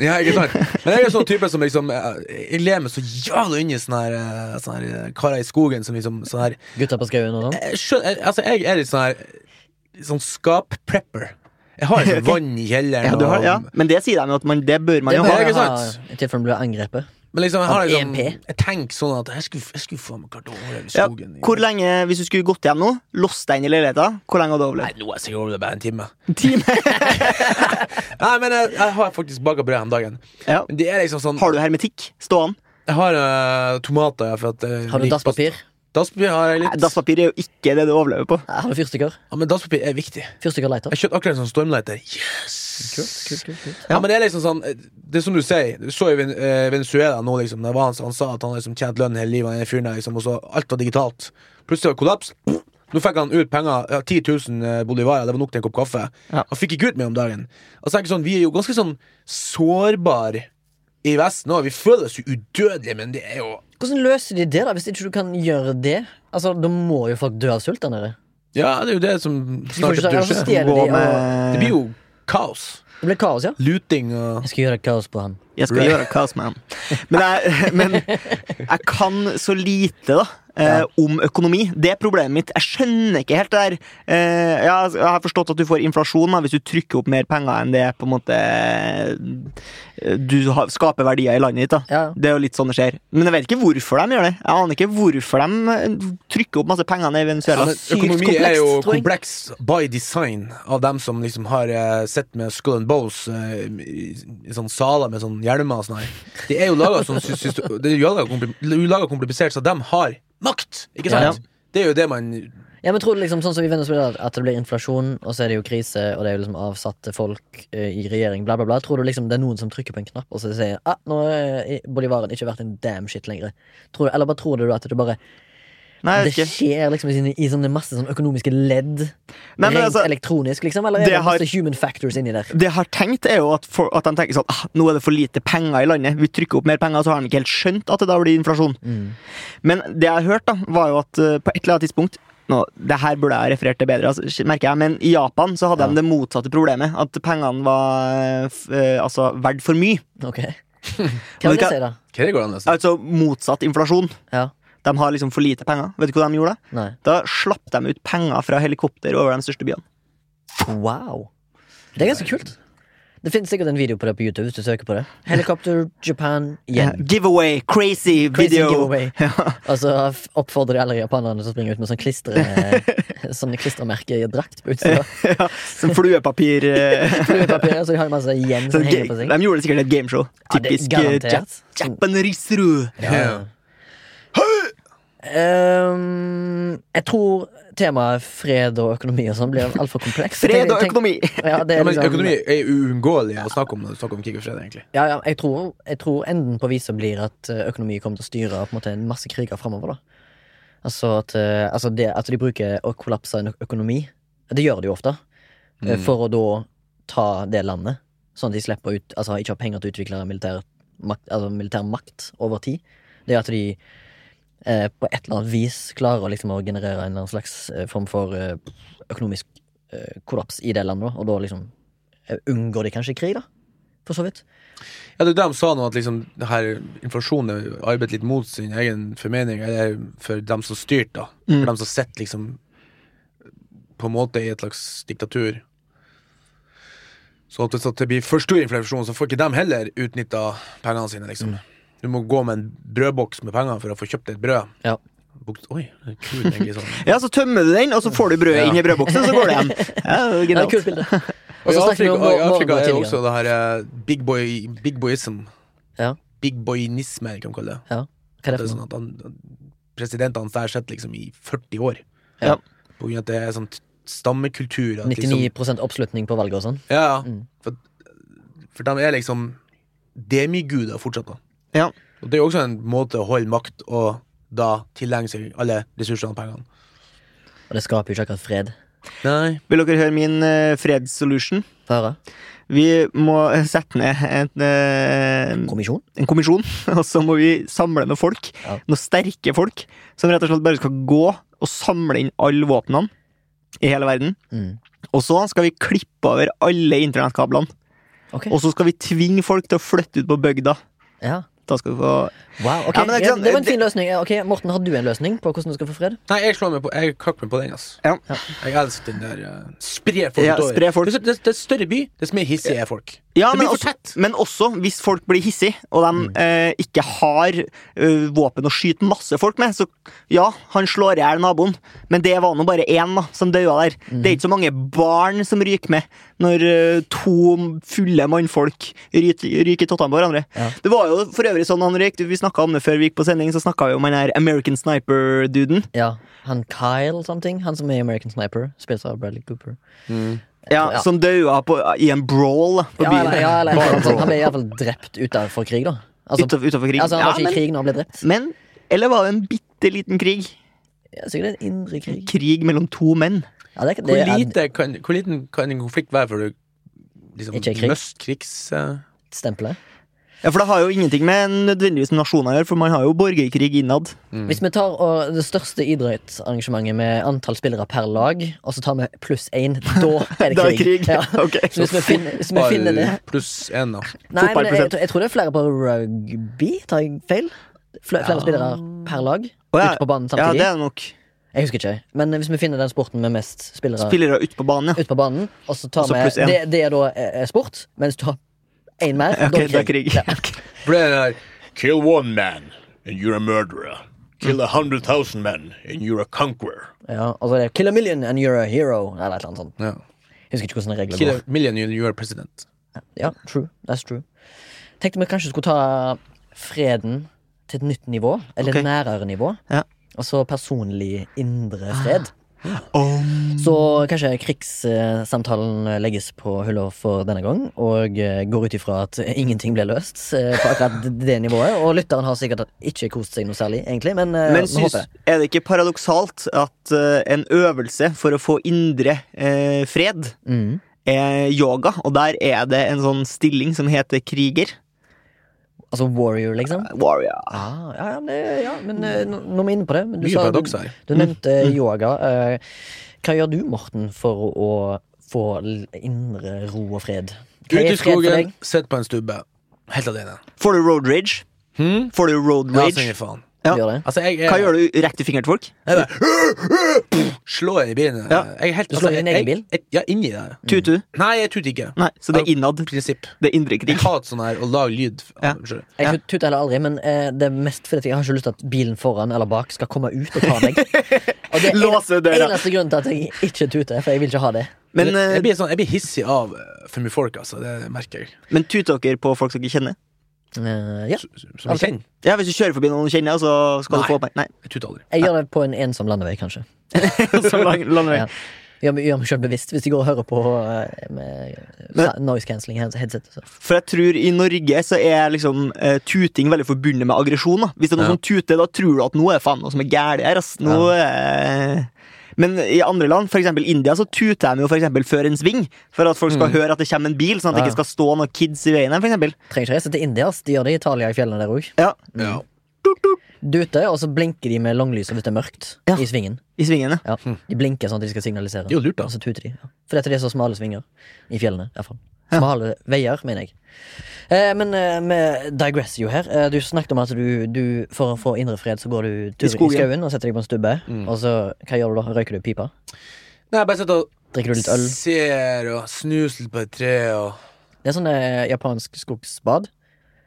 Ja, ikke sant? Men jeg er sånn type som liksom Jeg, jeg ler meg så jævla inn i sånne her, eh, sånne her eh, karer i skogen som liksom sånn her
Gutta på skauen og sånn.
jeg, skjønner, jeg, altså, jeg er litt sånn her Sånn skap-prepper. Jeg har liksom vann i kjelleren.
Ja, du har,
og-
ja. Men det sier de jo at man, det bør man
Det
jo
må
ha.
ikke
jeg ha
sant?
i tilfelle du blir angrepet.
Men liksom, jeg, har
Av
liksom,
EMP.
jeg tenker sånn at jeg skulle, jeg skulle faen meg klart å overleve i
Ja,
skogen. i-
hvor lenge, hvis du skulle gått hjem nå, låst deg inn i leiligheten, hvor lenge hadde du
Nei,
overlevd?
nå er jeg sikkert overlevd bare en time.
En time?
Nei, men jeg, jeg har faktisk baka brød om dagen.
Ja.
Men det er liksom sånn
Har du hermetikk? Stående?
Jeg har eh, tomater. ja, For at, eh,
Har du
litt-
dasspapir?
Dasspapir har jeg
Nei,
litt.
Dasspapir er jo ikke det du overlever på.
Har du fyrstikker?
Ja, men dasspapir er viktig. Jeg
Fyrstikker lighter?
kjøpte akkurat en sånn stormlighter. Yes!
Kult, kult, kult.
Ja, men det er liksom sånn eh, Det er som du sier. Du så i Ven- eh, Venezuela nå, liksom. Det var han, han sa at han liksom tjente lønn hele livet, han ene fyren der, liksom, og så alt var digitalt. Plutselig var det kollaps. Nå fikk han ut penger. Ja, 10 000 bolivarer. Det var nok til en kopp kaffe.
Ja.
Han fikk ikke ut mer om dagen. Og så tenker jeg sånn, Vi er jo ganske sånn sårbare i Vesten òg. Vi føler oss jo udødelige, men det er jo
Hvordan løser de det, da, hvis ikke du kan gjøre det? Altså, Da må jo folk dø av sult der nede.
Ja, det er jo det som
De får
snart
ikke sagt, altså,
skjer.
stjeler de,
Gå
og
Det
med
blir jo kaos.
Det blir kaos, ja.
Luting og
Jeg skal gjøre kaos på han.
Jeg skal gjøre kaos med han. Men jeg, men jeg kan så lite, da. eh, om økonomi. Det er problemet mitt. Jeg skjønner ikke helt det der. Eh, jeg, har- jeg har forstått at du får inflasjon da, hvis du trykker opp mer penger enn det på en måte eh, Du har, skaper verdier i landet ditt. da
Ja.
Det er jo litt sånn det skjer. Men jeg vet ikke hvorfor de gjør det. Jeg aner ikke hvorfor de trykker opp masse penger ned i
Ja,
Venezuela.
men
Sykt
økonomi
komplekst,
er jo
tror jeg.
kompleks by design av dem som liksom har eh, sett med Skull and Bows eh, i, i sånne saler med sånne hjelmer og sånn her. Det er jo laga sånn sy- syst- Det er jo laget kompli- det er jo laget komplisert, så de har makt, ikke sant?
Ja.
Det er jo det man
ja, men tror du liksom sånn som i Venezuela at det blir inflasjon, og så er det jo krise, og det er jo liksom avsatte folk eh, i regjering, bla, bla, bla. Tror du liksom det er noen som trykker på en knapp og så sier ah, nå er i- bolivaren ikke verdt en damn shit lenger? Tror du, eller bare tror du at det bare
Nei, jeg
Det
vet ikke.
skjer liksom i, sine, i sånne masse sånne økonomiske ledd?
Nei, men
rent
altså,
elektronisk, liksom? Eller er
det
det,
har-
masse human factors inni der?
det jeg har tenkt, er jo at, for, at de tenker sånn ah, Nå er det for lite penger i landet. Vi trykker opp mer penger, så har de ikke helt skjønt at det da blir inflasjon.
Mm,
Men det jeg har hørt, da, var jo at eh, på et eller annet tidspunkt nå, det her burde jeg ha referert til bedre, altså, merker jeg, men i Japan så hadde
Ja.
de det motsatte problemet. At pengene var eh, f- eh, altså, verdt for mye.
Ok. Hva vil
hva-
det si, da?
Hva er det går an, nesten?
Altså motsatt inflasjon.
Ja.
De har liksom for lite penger. Vet du hva de gjorde? da?
Nei.
Da slapp de ut penger fra helikopter over de største byene.
Wow. Det er ganske kult. Det finnes sikkert en video på det på YouTube. hvis du søker på det Helikopter Japan igjen.
Giveaway,
Crazy
crazy, video.
giveaway.
Ja.
Og så f- oppfordrer de alle japanerne til å springe ut med sånn klistre Sånn klistremerke i drakt på utsida.
ja, som fluepapir. eh,
Fluepapiret, Så de har masse igjen
Så
som henger på
ga-
seg.
de gjorde det sikkert i et gameshow.
Ja, det er
Typisk eh,
garantert.
Jap- japaneseru.
Ja.
Ehm, jeg tror temaet fred og økonomi og sånn blir altfor komplekst. Så
Fred
tenk-
og
tenk-
økonomi!
Ja, det
Ja,
er
men
liksom-
økonomi er jo uunngåelig å snakke om når du snakker om krig og fred, egentlig.
Ja, ja, jeg tror, jeg tror enden på viset blir at eh, økonomi kommer til å styre på en måte en masse kriger framover. Altså at, eh, altså det, at de bruker å kollapse en ø- økonomi, det gjør de jo ofte, eh,
Mm.
for å da ta det landet. Sånn at de slipper ut, altså ikke har penger til å utvikle militær makt, altså militær makt over tid. Det er at de eh, på et eller annet vis klarer å, liksom, å generere en eller annen slags eh, form for eh, økonomisk eh, kollaps i det landet, og da liksom eh, unngår de kanskje krig, da. For så vidt.
Ja, det er det de sa nå, at liksom, det her inflasjonen arbeider litt mot sin egen formening, eller for dem
Mm.
som styrte, da. For dem som sitter liksom på en måte i et slags diktatur. Så at hvis at det blir for stor inflasjon, så får ikke de heller utnytta pengene sine. liksom.
Mm.
Du må gå med en brødboks med penger for å få kjøpt deg et brød.
Ja.
Bukt- Oi, det er kult egentlig sånn.
Ja, så tømmer du den, og så får du brødet
Ja.
inn i brødboksen, så går det igjen. Ja, det er
Ja,
genialt.
kult bilde.
Og
Og
i
så snakker vi
Afrika,
om
og i Afrika er det
Volvo-tidligere.
også det her eh, big, boy, big boyism.
Ja.
Big boynisme, kan man kalle det.
Hva er
Det
det
er
for
sånn
noe?
at han, Presidentene der sitter liksom i 40 år.
Ja.
På grunn av at det er sånn t- stammekultur.
sånn
At liksom,
99 oppslutning på valget og sånn.
ja, ja.
Mm.
for, for de er liksom demiguder fortsatt, da.
Ja.
Og det er jo også en måte å holde makt og da tilegne seg alle ressursene og pengene.
Og det skaper jo ikke akkurat fred.
Nei.
Vil dere høre min eh, fredssolution?
Få høre.
Vi må eh, sette ned en, eh,
Hmm. Kommisjon?
en kommisjon, og så må vi samle noen folk.
Ja.
Noen sterke folk som rett og slett bare skal gå og samle inn alle våpnene i hele verden.
Mm.
Og så skal vi klippe over alle internettkablene.
Ok.
Og så skal vi tvinge folk til å flytte ut på bygda.
Ja.
Da skal du få
Wow, ok.
Ja, men det er ikke
ja,
sant,
det var en
det-
fin løsning. Ja, Ok, Morten, har du en løsning på hvordan du skal få fred?
Nei, jeg slår meg på Jeg kakker meg på den, ass.
Ja.
Jeg elsker den der eh, Spre folk
Ja,
utover.
spre folk.
Det, er- det, er- det er større by, det er mer hissige er folk.
Ja,
Det
men
blir for
også, men også hvis folk blir hissige, og de
Mm.
eh, ikke har eh, våpen å skyte masse folk med, så ja, han slår i hjel naboen, men det var nå bare én da, som daua der.
Mm.
Det er ikke så mange barn som ryker med når eh, to fulle mannfolk ryker, ryker i tottene på hverandre.
Ja.
Det var jo for øvrig sånn, Henrik, vi snakka om det før vi gikk på sending, så snakka vi om den her American Sniper-duden.
Ja, Han Kyle something, han som er i American Sniper, spilt av Bradley Cooper.
Ja,
Ja.
Som daua på, i en brawl på
Ja,
byen.
eller, ja, eller,
Bare
altså,
bra.
han ble iallfall drept utenfor krig, da. Altså,
Utenfor, utenfor krigen.
altså Han
ja,
var ikke
men,
i krig når han ble drept.
men Eller var det en bitte liten krig?
Ja, sikkert en indre krig.
Krig mellom to menn.
Ja, det er ikke
Hvor,
det. er-
lite kan, hvor liten kan en konflikt være før du liksom,
Ikke er krig.
mist krigs... eh,
Stempelet.
Ja, For det har jo ingenting med nødvendigvis nasjoner å gjøre, for man har jo borgerkrig innad.
Hvis vi tar og, det største idrettsarrangementet med antall spillere per lag, og så tar vi pluss én, da er det
Da er
krig.
krig.
Ja.
Ok.
Så hvis vi finner, hvis vi
Bare
finner det
Pluss én, da.
Nei, men jeg,
Fotballprosent.
jeg tror det er flere på rugby, tar jeg feil? Fle, flere spillere per lag
Å, ja.
ute på banen
Ja,
samtidig.
det er nok
Jeg husker ikke, men hvis vi finner den sporten med mest spillere
Spillere ute på banen, ja.
ute på banen, og så tar
Og så
vi
pluss en.
det, det er da eh, sport, mens du har én mer,
Ok, det
da
er krig.
For det er den der
Kill one man, and you're a murderer. Kill a hundred thousand men, and you're a conqueror.
Ja, og så er det 'kill a million and you're a hero', eller et eller annet sånt.
ja.
Jeg husker ikke hvordan reglene
Kill
går.
a million you are president.
Ja, true, that's true Tenkte vi kanskje skulle ta freden til et nytt nivå, eller
Ok.
et nærere nivå.
Ja. Ah.
Og så personlig indre fred.
Um.
Så kanskje krigssamtalen eh, legges på hylla for denne gang, og eh, går ut ifra at ingenting ble løst eh, på akkurat det nivået. Og lytteren har sikkert ikke kost seg noe særlig, egentlig, men, eh,
Men
vi
syns,
håper.
er det ikke paradoksalt at eh, en øvelse for å få indre eh, fred
Mm.
er yoga, og der er det en sånn stilling som heter kriger?
Altså warrior, liksom.
Warrior.
Ah, ja, ja, men, det- ja, men eh, nå nå er vi inne på det. Men du,
Mye
sa,
paradoks her.
du nevnte
Mm.
yoga. Eh, Hva gjør du, Morten, for å få l- indre ro og fred? Hva
Ut i
er fred for
skogen,
deg?
sitt på en stubbe. Helt alene.
Får du road rage?
Hmm?
Får du road
Ja,
rage?
sier faen.
Ja.
Du gjør det.
Altså, jeg er
Hva gjør du? Rett i fingeren til folk?
Jeg bare Slår i bilen.
Ja.
Jeg er helt, altså,
Du slår i din egen
jeg-
bil?
jeg- Ja, inni der.
Tutu?
Nei, jeg tuter ikke.
Nei, så det er innad.
Mm. Prinsipp.
Det er indre
Jeg
krig.
hater sånn her å lage lyd.
Ja.
Unnskyld.
Jeg tut- tuter heller aldri, men eh, det er mest fordi at jeg har ikke lyst til at bilen foran eller bak skal komme ut og ta meg. Og det er
Låse
en,
døra.
eneste grunnen til at jeg ikke tuter, for jeg vil ikke ha det.
Men,
jeg,
eh,
jeg, blir sånn, jeg blir hissig av eh, for mye folk, altså. Det merker jeg.
men tuter dere på folk som dere kjenner?
Eh, ja.
Som jeg
Altså-
kjenner.
Ja, Hvis du kjører forbi noen du kjenner, så skal
Nei.
du få opp Nei.
Jeg tuter aldri.
Jeg gjør det på en ensom landevei, kanskje.
Så lang, lang vei.
Ja. Gjør meg, gjør meg selv bevisst hvis de går og hører på eh, med
Men-
sa- noise cancelling head- headset. Så.
For jeg tror i Norge så er liksom eh, tuting veldig forbundet med aggresjon. da. Hvis det er noen
Ja.
som tuter, da tror du at nå er det faen noe som er gærent her. ass. Nå er- Men i andre land, f.eks. India, så tuter de jo for eksempel før en sving. For at folk skal høre at det kommer en bil, sånn at det
Ja.
ikke skal stå noen kids i veien. her, For eksempel.
Trenger ikke reise til India, ass. de gjør det i Italia i fjellene der òg.
ja,
Ja.
Dute, og så blinker de med langlys hvis det er mørkt
Ja.
i svingen.
I svingen, ja.
Ja. De blinker sånn at de skal signalisere.
Hm. Det er jo lurt,
Og
da.
så tuter de. Ja. Fordi at det er så smale svinger i fjellene. i hvert fall. Smale veier, mener jeg. Eh, men eh, vi digresser jo her. Eh, du snakket om at du, du for å få indre fred, så går du tur i
skogen.
Mm.
skauen og setter deg på en stubbe. Og så, hva gjør du da? Røyker du pipa?
Nei, jeg bare sitter og
Drikker du litt øl?
Ser og snuser litt på et tre og
Det er sånn eh, japansk skogsbad.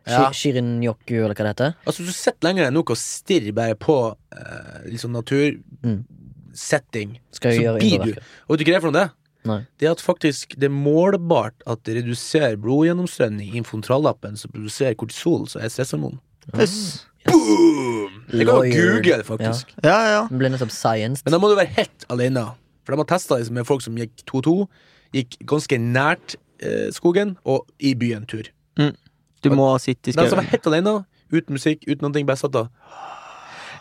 Shi-
Ja.
Shirin-yoku, eller hva det heter.
Altså, hvis du sitter lenger enn nok og stirrer bare på eh, litt sånn
Mm.
natursetting,
Skal jeg
så
gjøre
blir du
underverker.
Og vet du hva det er for noe, det?
Nei.
Det er at faktisk det er målbart at det reduserer blodgjennomstrømning i frontallappen, som produserer kortisol, som er stresshormon.
Yes.
Boom! Jeg kan jo
Lawyer.
google det, faktisk.
Ja, ja, ja.
Den ble nettopp scienced.
Men da må du være helt alene. For de har testa det med folk som gikk 2-2, gikk ganske nært eh, skogen og i byen tur.
Du må sitte i
De som var
skauen.
helt alene, uten musikk, uten noen ting, bare satt og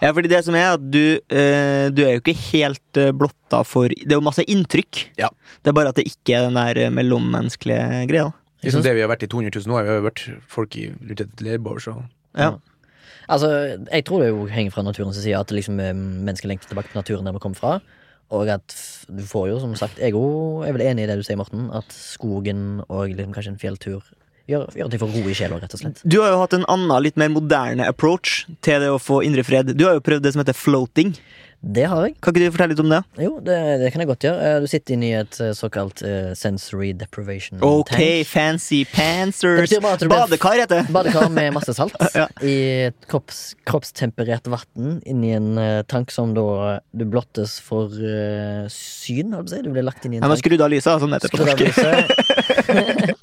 Ja, fordi det som er at du, eh, du er jo ikke helt eh, blotta for Det er jo masse inntrykk.
Ja.
Det er bare at det ikke er den der eh, mellommenneskelige greia.
Liksom det vi har vært i 200 000 år. Vi har jo vært folk i rundt et leirbål, så
Ja.
Altså, jeg tror det jo henger fra naturens side at det liksom er mennesker lengter tilbake til naturen der vi kom fra. Og at f- du får jo, som sagt, jeg er jo- jeg er vel enig i det du sier, Morten, at skogen og liksom kanskje en fjelltur gjør, gjør at de får ro i sjela, rett og slett.
Du har jo hatt en annen, litt mer moderne approach til det å få indre fred. Du har jo prøvd det som heter floating.
Det har jeg.
Kan ikke du fortelle litt om det?
Jo, det, det kan jeg godt gjøre. Eh, Du sitter inne i et eh, såkalt eh, sensory deprivation
Ok,
tank.
fancy pantsers.
Det betyr bare at du blir-
Badekar heter det.
Badekar med masse salt
Ja.
i et kropps, kroppstemperert vann inni en eh, tank som da du blottes for eh, syn, holdt jeg på å si. Du blir lagt inn i en
Jeg må
tank.
skru av lyset, sånn heter det på
Skrudd av
norsk.
lyset.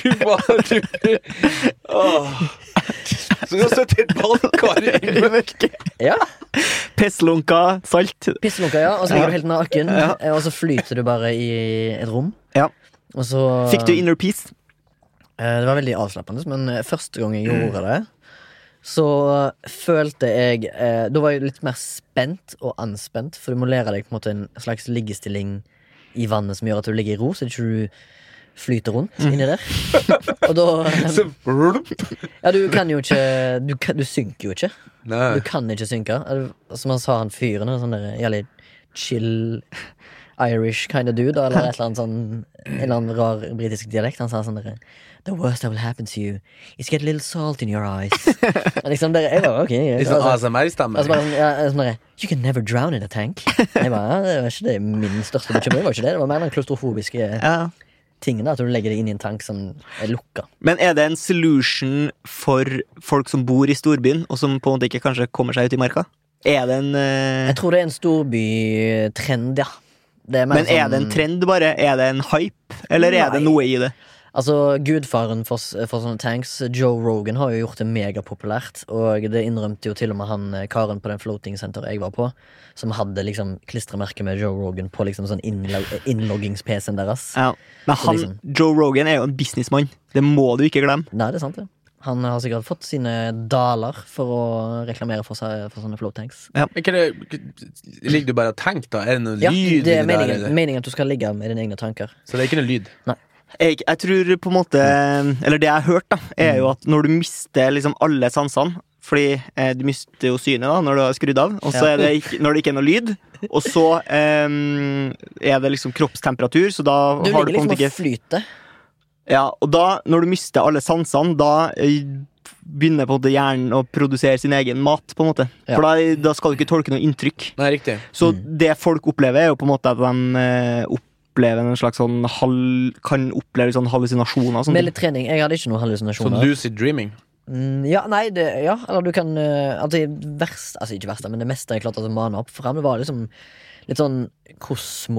Fy faen, du Åh. Så du har sittet i et badekar i
Ja.
Pesslunka, salt.
Pisselunka, ja. Og så ligger du helt naken,
Ja.
eh, og så flyter du bare i et rom.
Ja.
Og så
Fikk du inner peace?
Eh, Det var veldig avslappende, men eh, første gang jeg
Mm.
gjorde det, så eh, følte jeg eh, Da var jeg litt mer spent og anspent, for du må lære deg på en måte en slags liggestilling i vannet som gjør at du ligger i ro, så ikke du flyter rundt
Mm.
inni der. Og da
Så-
Ja, du kan jo ikke Du, kan, du synker jo ikke.
Nei.
Du kan ikke synke. Eh, Som han sa, han fyren en sånn der jævlig chill Irish kind of dude, eller et eller annet sånn En eller annen rar britisk dialekt. Han sa sånn derre The worst that will happen to you is get a little salt in your eyes. Og liksom der, jeg bare, ok
Litt
Liksom,
sånn ASMR-stemme.
Altså bare sånn, ja, sånn derre, You can never drown in a tank. Jeg bare, ja, Det var ikke det min største bekymring. Det var ikke det Det var mer den klaustrofobiske
Ja.
tingen. da, At du legger deg inn i en tank som er lukka.
Men er det en solution for folk som bor i storbyen, og som på en måte ikke kanskje kommer seg ut i marka? Er det en eh,
Jeg tror det er en storbytrend, ja. Det mer
Men er det en
sånn-
trend, bare? Er det en hype, eller er
Nei.
det noe i det?
Altså, gudfaren for, s- for sånne tanks, Joe Rogan, har jo gjort det megapopulært. Og det innrømte jo til og med han eh, karen på den floating center jeg var på, som hadde liksom klistremerke med Joe Rogan på liksom sånn innlo- innloggings-PC-en deres.
Ja. Men
Så
han,
liksom-
Joe Rogan er jo en businessmann. Det må du ikke glemme.
Nei, det er sant, det. Han har sikkert fått sine daler for å reklamere for, seg, for sånne float tanks.
Men hva er det, ligger du bare og tenker, da? Er det noe
Ja,
lyd
det er
inni der?
meningen,
eller?
meningen at du skal ligge med dine egne tanker.
Så det er ikke noe lyd?
Jeg, jeg tror på en måte
Mm.
Eller det jeg har hørt, da, er jo at når du mister liksom alle sansene fordi eh, du mister jo synet da når du har skrudd av, og så
Ja.
er det ikke, når det ikke er noe lyd, og så eh, er det liksom kroppstemperatur, så da
Du
har
ligger
du på en
liksom
måte
og
ikke
flyter.
Ja, og da, når du mister alle sansene, da eh, begynner på en måte hjernen å produsere sin egen mat, på en måte.
Ja. Mm.
For da, da skal du ikke tolke noe inntrykk.
Nei, riktig.
Så det folk opplever, er jo på en måte at de eh, opplever en slags sånn hal kan oppleve sånn hallusinasjoner og sånne
Med litt trening. Jeg hadde ikke noen
Sånn
hallusinasjoner.
lucid dreaming.
Mm, ja, nei, det, ja, eller du kan eh, Altså, det verste, altså ikke verste, men det meste jeg klarte å mane opp fram, det var liksom litt sånn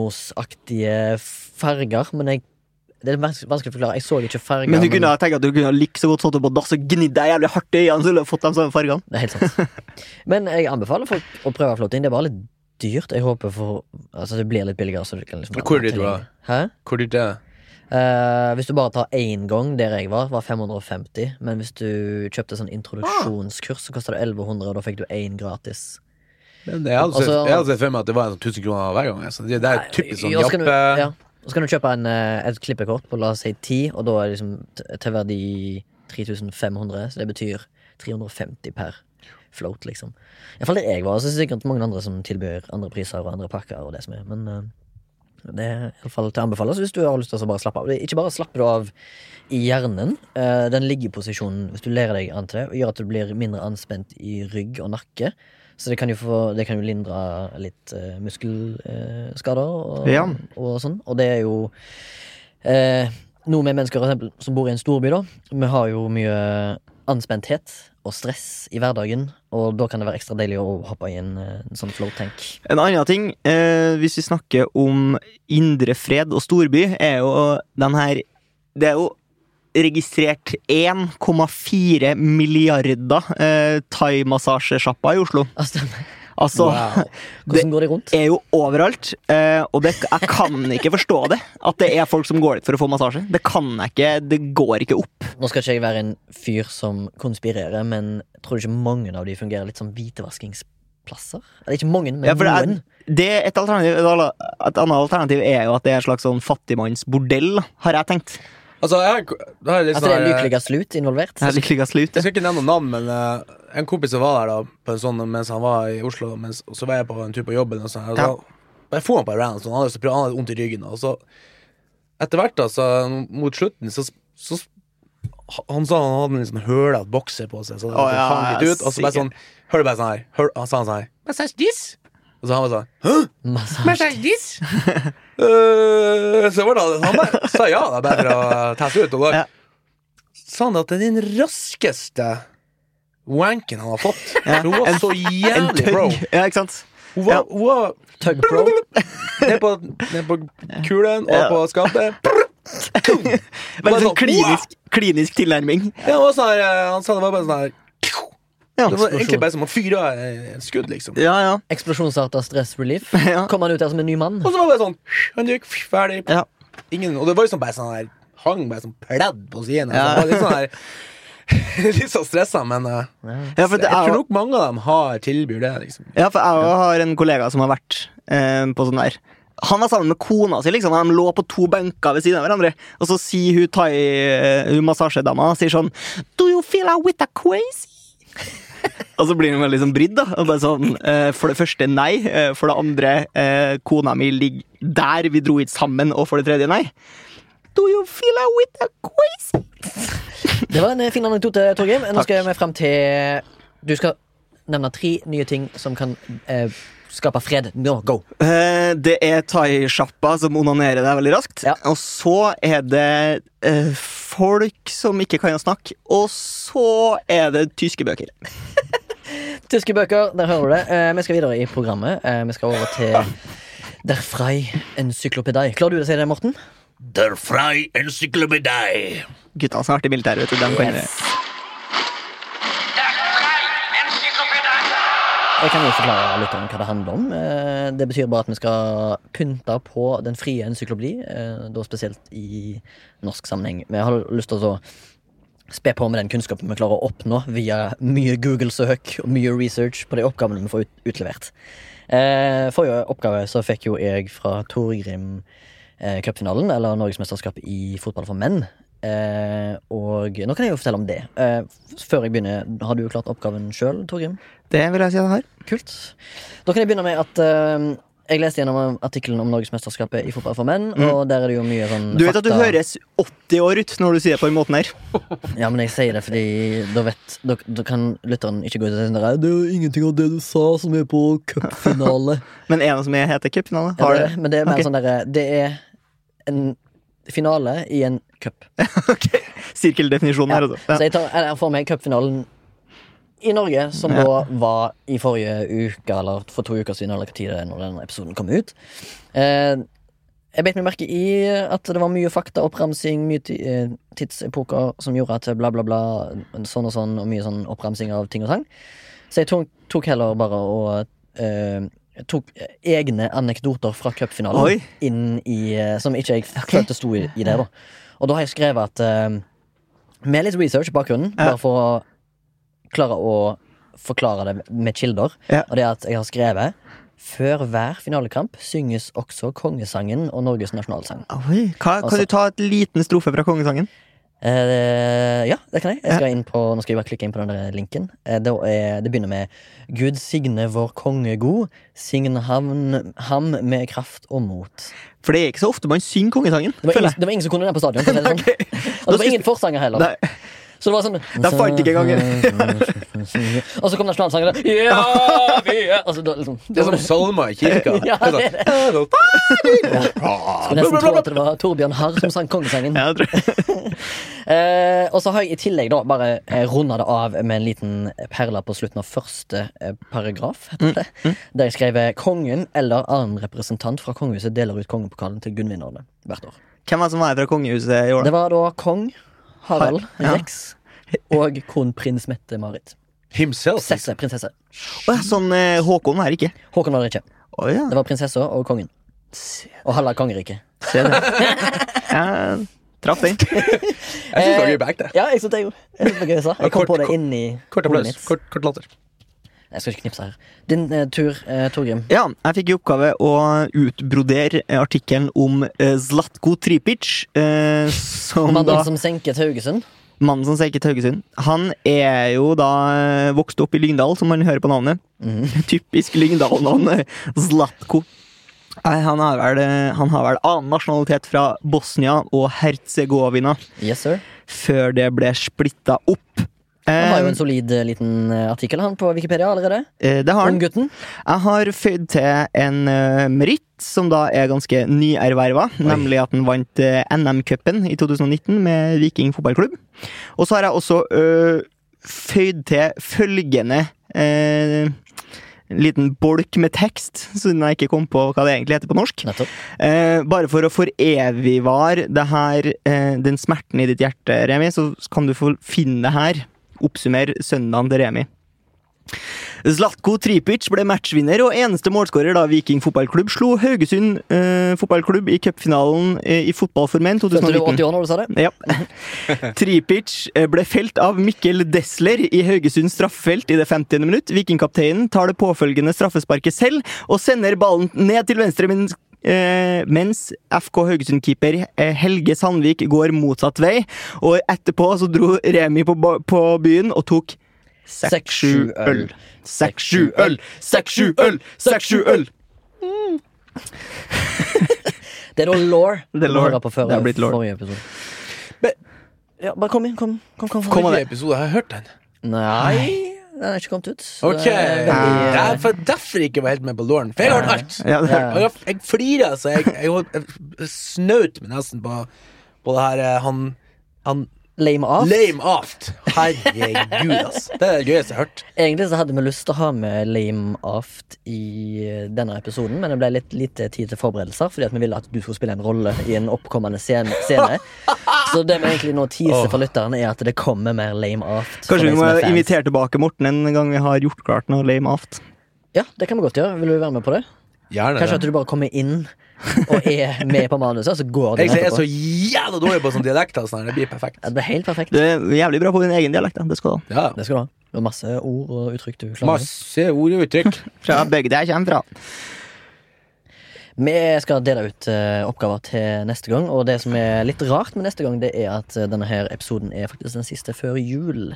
kosmosaktige farger, men jeg Det er vanskelig, vanskelig å forklare. Jeg så ikke farger.
Men du kunne ha tenkt at du kunne ha like så godt satt opp på dass og gnidd deg jævlig hardt i øynene, så ville du fått de samme fargene.
Det er helt sant. Men jeg anbefaler folk å prøve floating. Det er bare litt dyrt. Jeg håper for Altså, det blir litt billigere, så du kan liksom
Hvor er det du var?
Hæ?
Hvor dyrt er det?
Eh, hvis du bare tar én gang der jeg var, var 550. Men hvis du kjøpte
Ah.
sånn introduksjonskurs, så kosta det 1100, og da fikk du én gratis.
Men Jeg hadde sett
Altså-
jeg hadde sett for meg at det var en sånn 1000 kroner hver gang. altså. Det, det er typisk sånn
Ja, så kan du-
jappe...
ja. Og Så kan du kjøpe en, eh, et klippekort på la oss si 10, og da er det liksom t- til verdi 3500, så det betyr 350 per float, liksom. Iallfall der jeg var, og så er det sikkert mange andre som tilbyr andre priser og andre pakker og det som er, men eh, det er iallfall til å anbefale så hvis du har lyst til å bare slappe av. Det er Ikke bare slapper du av i hjernen, eh, den liggeposisjonen, hvis du lærer deg an til det, gjør at du blir mindre anspent i rygg og nakke. Så det kan jo, få, det kan jo lindre litt eh, muskelskader og,
Ja.
og sånn. Og det er jo eh, noe med mennesker for eksempel, som bor i en storby, da. Vi har jo mye anspenthet og stress i hverdagen, og da kan det være ekstra deilig å hoppe i en, eh, en sånn flow tank.
En annen ting, eh, hvis vi snakker om indre fred og storby, er jo den her Det er jo registrert 1,4 milliarder eh, thaimassasjesjapper i Oslo.
Altså,
Altså
hvordan går de rundt?
er jo overalt, eh, og det, jeg kan ikke forstå det. At det er folk som går dit for å få massasje. Det kan jeg ikke, det går ikke opp.
Nå skal ikke jeg være en fyr som konspirerer, men tror du ikke mange av de fungerer litt som hvitevaskingsplasser? Eller ikke mange, men
Ja, for det er-
noen.
Det, et, alternativ, et ala- et annet alternativ er jo at det er en slags sånn fattigmannsbordell, har jeg tenkt.
Altså, jeg har en ko- da har jeg litt
At Altså, det er
sånn her, eh,
lykkeligere slut involvert?
Jeg liker ikke å slute.
Jeg skal ikke nevne noen navn, men eh, en kompis som var der da på en sånn mens han var i Oslo, mens, og så var jeg på en tur på jobben. Og sånn, og
Ja.
så, jeg får han på en rant, sånn, han hadde så prøvd- han hadde vondt i ryggen. Og så etter hvert, da, så, mot slutten, så, så Han sa han hadde en liksom hølete bokser på seg, så det
Å, ja,
hang litt ut. Og så bare
sikkert.
sånn Hør du bare sånn her hør, Han sa han sånn her Massage this? Og så han var sånn Hæ?
Masse-
Massage this? Eh, så var det han- han bare sa ja, da, bare for å teste ut. Og da
Ja.
sa han at det er den raskeste wanken han har fått. Hun var så
En
jævlig bro.
tøgg. Ja, ikke sant?
Hun var,
Ja.
hun var
Tug pro?
ned, på, ned på kulen og
Ja.
på skapet.
Veldig
Bare
sånn
sånn,
klinisk, klinisk tilnærming.
Ja, og sånn her, eh, han sa det var bare sånn her
Ja,
Det var egentlig bare som å fyre av et skudd, liksom.
ja. ja.
Eksplosjonsarta stress relief?
Ja.
Kom han ut der som en ny mann?
Og så var det bare sånn Han gikk ferdig.
Ja.
Ingen, og det var liksom bare sånn her Hang bare som pledd på siden.
Ja.
Altså, det var litt sånn her Litt sånn stressa, men eh,
Ja, for det
jeg
er
tror
jo-
nok mange av dem har tilbyr det, liksom.
ja, for jeg også har en kollega som har vært eh, på sånn der. Han var sammen med kona si, liksom. og De lå på to benker ved siden av hverandre. Og så sier hun thai, eh, hun massasjedama sier sånn Do you feel a with a crazy? og så blir hun veldig sånn brydd. da og bare sånn, eh, For det første nei. eh, For det andre eh, kona mi ligger der vi dro hit sammen. Og for det tredje nei. Do you feel a with a crazy?
Det var en eh, fin anekdote, Torgrim. Nå skal vi frem til Du skal nevne tre nye ting som kan eh, skape fred. Nå, go!
Eh, Det er thaisjappa som onanerer deg veldig raskt.
Ja.
Og så er det eh, folk som ikke kan å snakke. Og så er det tyske bøker.
Tyske bøker, der hører du det. Eh, vi skal videre i programmet. Eh, vi skal over til Der Frei Encyklopedei. Klarer du å si det, Morten?
Der Frei Encyclopedie.
Gutta som har vært i militæret, vet du. De kan det.
Der frei Enzyklopädie.
Jeg kan jo forklare lytteren hva det handler om. Eh, Det betyr bare at vi skal pynte på den frie encyklopedi, eh, da spesielt i norsk sammenheng. Vi har lyst til å spe på med den kunnskapen vi klarer å oppnå via mye Google-søk og mye research på de oppgavene vi får ut utlevert. Eh, Forrige oppgave så fikk jo jeg fra Torgrim eh, cupfinalen, eller Norgesmesterskapet i fotball for menn. Eh, og nå kan jeg jo fortelle om det. Eh, f- før jeg begynner, har du klart oppgaven sjøl, Torgrim?
Det vil jeg si den har.
Kult. Da kan jeg begynne med at eh, jeg leste gjennom artikkelen om Norgesmesterskapet i fotball for menn, og der er det jo mye sånn
Mm. Du vet at du
fakta-
høres 80 år ut når du sier det på den måten her.
Ja, men jeg sier det fordi da vet Da, da kan lytteren ikke gå ut og si sånn der, Det er jo ingenting av det du sa som er på cupfinale.
Men en som jeg heter cupfinale,
Ja,
har
det
det.
er det, Men det er mer
Ok.
sånn derre Det er en finale i en cup.
Ok, Sirkeldefinisjonen her,
Så
altså. Ja.
jeg tar jeg for meg cupfinalen i Norge, som da var i forrige uke, eller for to uker siden, eller hva tid det er når denne episoden kom ut. Eh, jeg beit meg merke i at det var mye fakta, oppramsing, mye ti- eh, tidsepoker som gjorde at bla, bla, bla, sånn og sånn, og mye sånn oppramsing av ting og tang. Så jeg tok, tok heller bare og eh, tok egne anekdoter fra
Oi.
cupfinalen inn i eh, Som ikke jeg følte sto i, i det, da. Og da har jeg skrevet at eh, med litt research i bakgrunnen, bare for å klare å forklare det med kilder,
Ja.
og det er at jeg har skrevet før hver finalekamp synges også kongesangen og Norges nasjonalsang.
Oi, hva, kan
Altså-
du ta et liten strofe fra kongesangen?
Eh, ja, det kan jeg. jeg skal inn på, nå skal jeg bare klikke inn på den der linken. Eh, det, er, det begynner med Gud signe vår konge god, signe ham, ham med kraft og mot.
For det er ikke så ofte man synger kongesangen.
Det var,
føler
ingen,
jeg.
det var ingen som kunne den på stadion. for å si det sånn. Og det var ingen forsanger heller.
Nei.
Så det var sånn
Da fant ikke engang
Og så kom nasjonalsangen, og Ja, vi er altså, da, liksom,
Det er som salmer i kirka.
Ja, det er det.
Sånn,
Skulle nesten tro at det var Torbjørn Harr som sang kongesangen.
Ja, jeg tror.
Eh, og så har jeg i tillegg da bare eh, runda det av med en liten perle på slutten av første eh, paragraf.
Mm,
Heter det, Der jeg skrev eh, 'Kongen eller annen representant fra kongehuset deler ut kongepokalen til gunnvinnerne hvert år'.
Hvem var det som var her fra kongehuset i år?
Det var da kong Harald,
Ja.
Rex og kronprins Mette-Marit.
Himself.
Prinsesse, prinsesse.
Å ja, sånn eh, Håkon var her ikke.
Håkon var det ikke.
Å ja.
Det var prinsessa og kongen. Og halve kongeriket.
Se det. Jeg traff den.
Jeg syns det var gøy på ekte.
Ja, jeg synes det jo. Jeg, synes det var gøy, jeg, sa. jeg kom
Kort-
på det
kort-
inni
Kort
hodet
applaus.
mitt.
Kort, kort latter.
Jeg skal ikke knipse her. Din eh, tur, eh, Torgrim.
Ja, jeg fikk i oppgave å utbrodere artikkelen om eh, Zlatko Tripic, eh, som
Mannen
da
som senket Haugesund.
Mannen som senket Haugesund. Han er jo da eh, vokst opp i Lyngdal, som man hører på navnet.
Mhm.
Typisk Lyngdal-navn. eh, Zlatko. Nei, Han har, vel, eh, han har vel annen nasjonalitet fra Bosnia og Herzegovina,
Yes, sir.
før det ble splitta opp.
Han har jo
Eh,
en solid eh, liten eh, artikkel han på Wikipedia allerede.
eh, det har
Om
han.
gutten.
Jeg har føyd til en eh, meritt som da er ganske nyerverva, nemlig at han vant eh, NM-cupen i 2019 med Viking fotballklubb. Og så har jeg også eh, føyd til følgende eh, liten bolk med tekst, siden jeg ikke kom på hva det egentlig heter på norsk.
Nettopp.
Eh, bare for å forevigvare det her, eh, den smerten i ditt hjerte, Remi, så kan du få finne det her. Oppsummer søndagen til Remi. Zlatko Tripic ble matchvinner og eneste målskårer da Viking fotballklubb slo Haugesund eh, fotballklubb i cupfinalen eh, i fotball for menn
Følte du 80
2019.
år når du sa det?
Ja. Tripic eh, ble felt av Mikkel Desler i Haugesunds straffefelt i det 50. minutt. Vikingkapteinen tar det påfølgende straffesparket selv og sender ballen ned til venstre. Men Eh, mens FK Haugesund-keeper eh, Helge Sandvik går motsatt vei. Og etterpå så dro Remi på, ba- på byen og tok seks-sju øl. Seks-sju øl! Seks-sju øl! Seks-sju øl!
Det er da law
Det er law.
på før,
Det er blitt law.
forrige episode.
Men-
ja, bare kom inn. Kom, kom, kom,
Kom av episode, har jeg hørt den?
Nei, den er ikke kommet ut. så
Ok,
det er veldig, eh,
derfor, derfor ikke var helt med på låren. For jeg har hørt alt.
Ja, det
Ja.
Og jeg, jeg flirer, så jeg, jeg, holdt- jeg snaut meg nesten på, på det her eh, han, han
Lame off.
Lame aft. Herregud, ass. Det er det gøyeste jeg har hørt.
Egentlig så hadde vi lyst til å ha med Lame Aft i eh, denne episoden, men det ble litt lite tid til forberedelser, fordi at vi ville at du skulle spille en rolle i en oppkommende scene. scene. Så det vi egentlig nå teaser for lytterne, er at det kommer mer Lame Aft. for
Kanskje
de
vi
som
må
er fans.
invitere tilbake Morten en gang vi har gjort klart noe lame aft.
Ja, det kan vi godt gjøre. Vil du være med på det?
Gjerne
Kanskje at du bare kommer inn og er med på manuset, og så går du
Jeg er så
etterpå.
jævla dårlig på sånn dialekt. og sånn her. Det blir perfekt.
Ja, Det blir helt perfekt.
Du er jævlig bra på din egen dialekt. da. Det skal du ha.
Ja.
Det sånn. skal du ha. Det var masse ord og uttrykk du klarer.
Masse ord og uttrykk.
Fra bygda jeg kommer fra.
Vi skal dele ut eh, oppgaver til neste gang, og det som er litt rart med neste gang, det er at eh, denne her episoden er faktisk den siste før jul.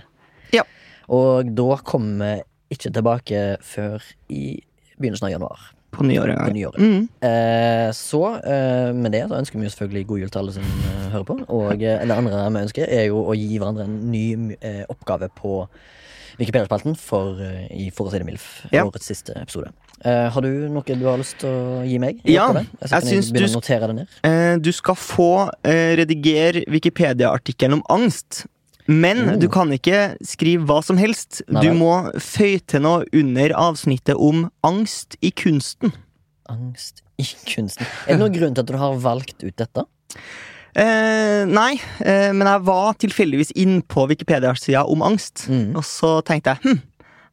Ja.
Og da kommer vi ikke tilbake før i begynnelsen av januar.
På nyåret.
På
Ja.
nyåret.
Mm.
Eh, så eh, med det så ønsker vi jo selvfølgelig god jul til alle som eh, hører på. Og eh, det andre vi ønsker, er jo å gi hverandre en ny eh, oppgave på Wikipedia-spalten for, eh, i For å si det mildt,
Ja.
årets siste episode. Eh, har du noe du har lyst til å gi meg? i
Ja,
oppgave? så
jeg
kan jeg
syns du
begynne
sk-
å notere det ned.
Eh, du skal få eh, redigere Wikipedia-artikkelen om angst. Men du kan ikke skrive hva som helst.
Oh. Nei
Du
vel.
må føye til noe under avsnittet om angst i kunsten.
Angst i kunsten. Er det noen grunn til at du har valgt ut dette?
Eh, nei, eh, men jeg var tilfeldigvis inn på Wikipedia-sida om angst.
Mm.
Og så tenkte jeg hm,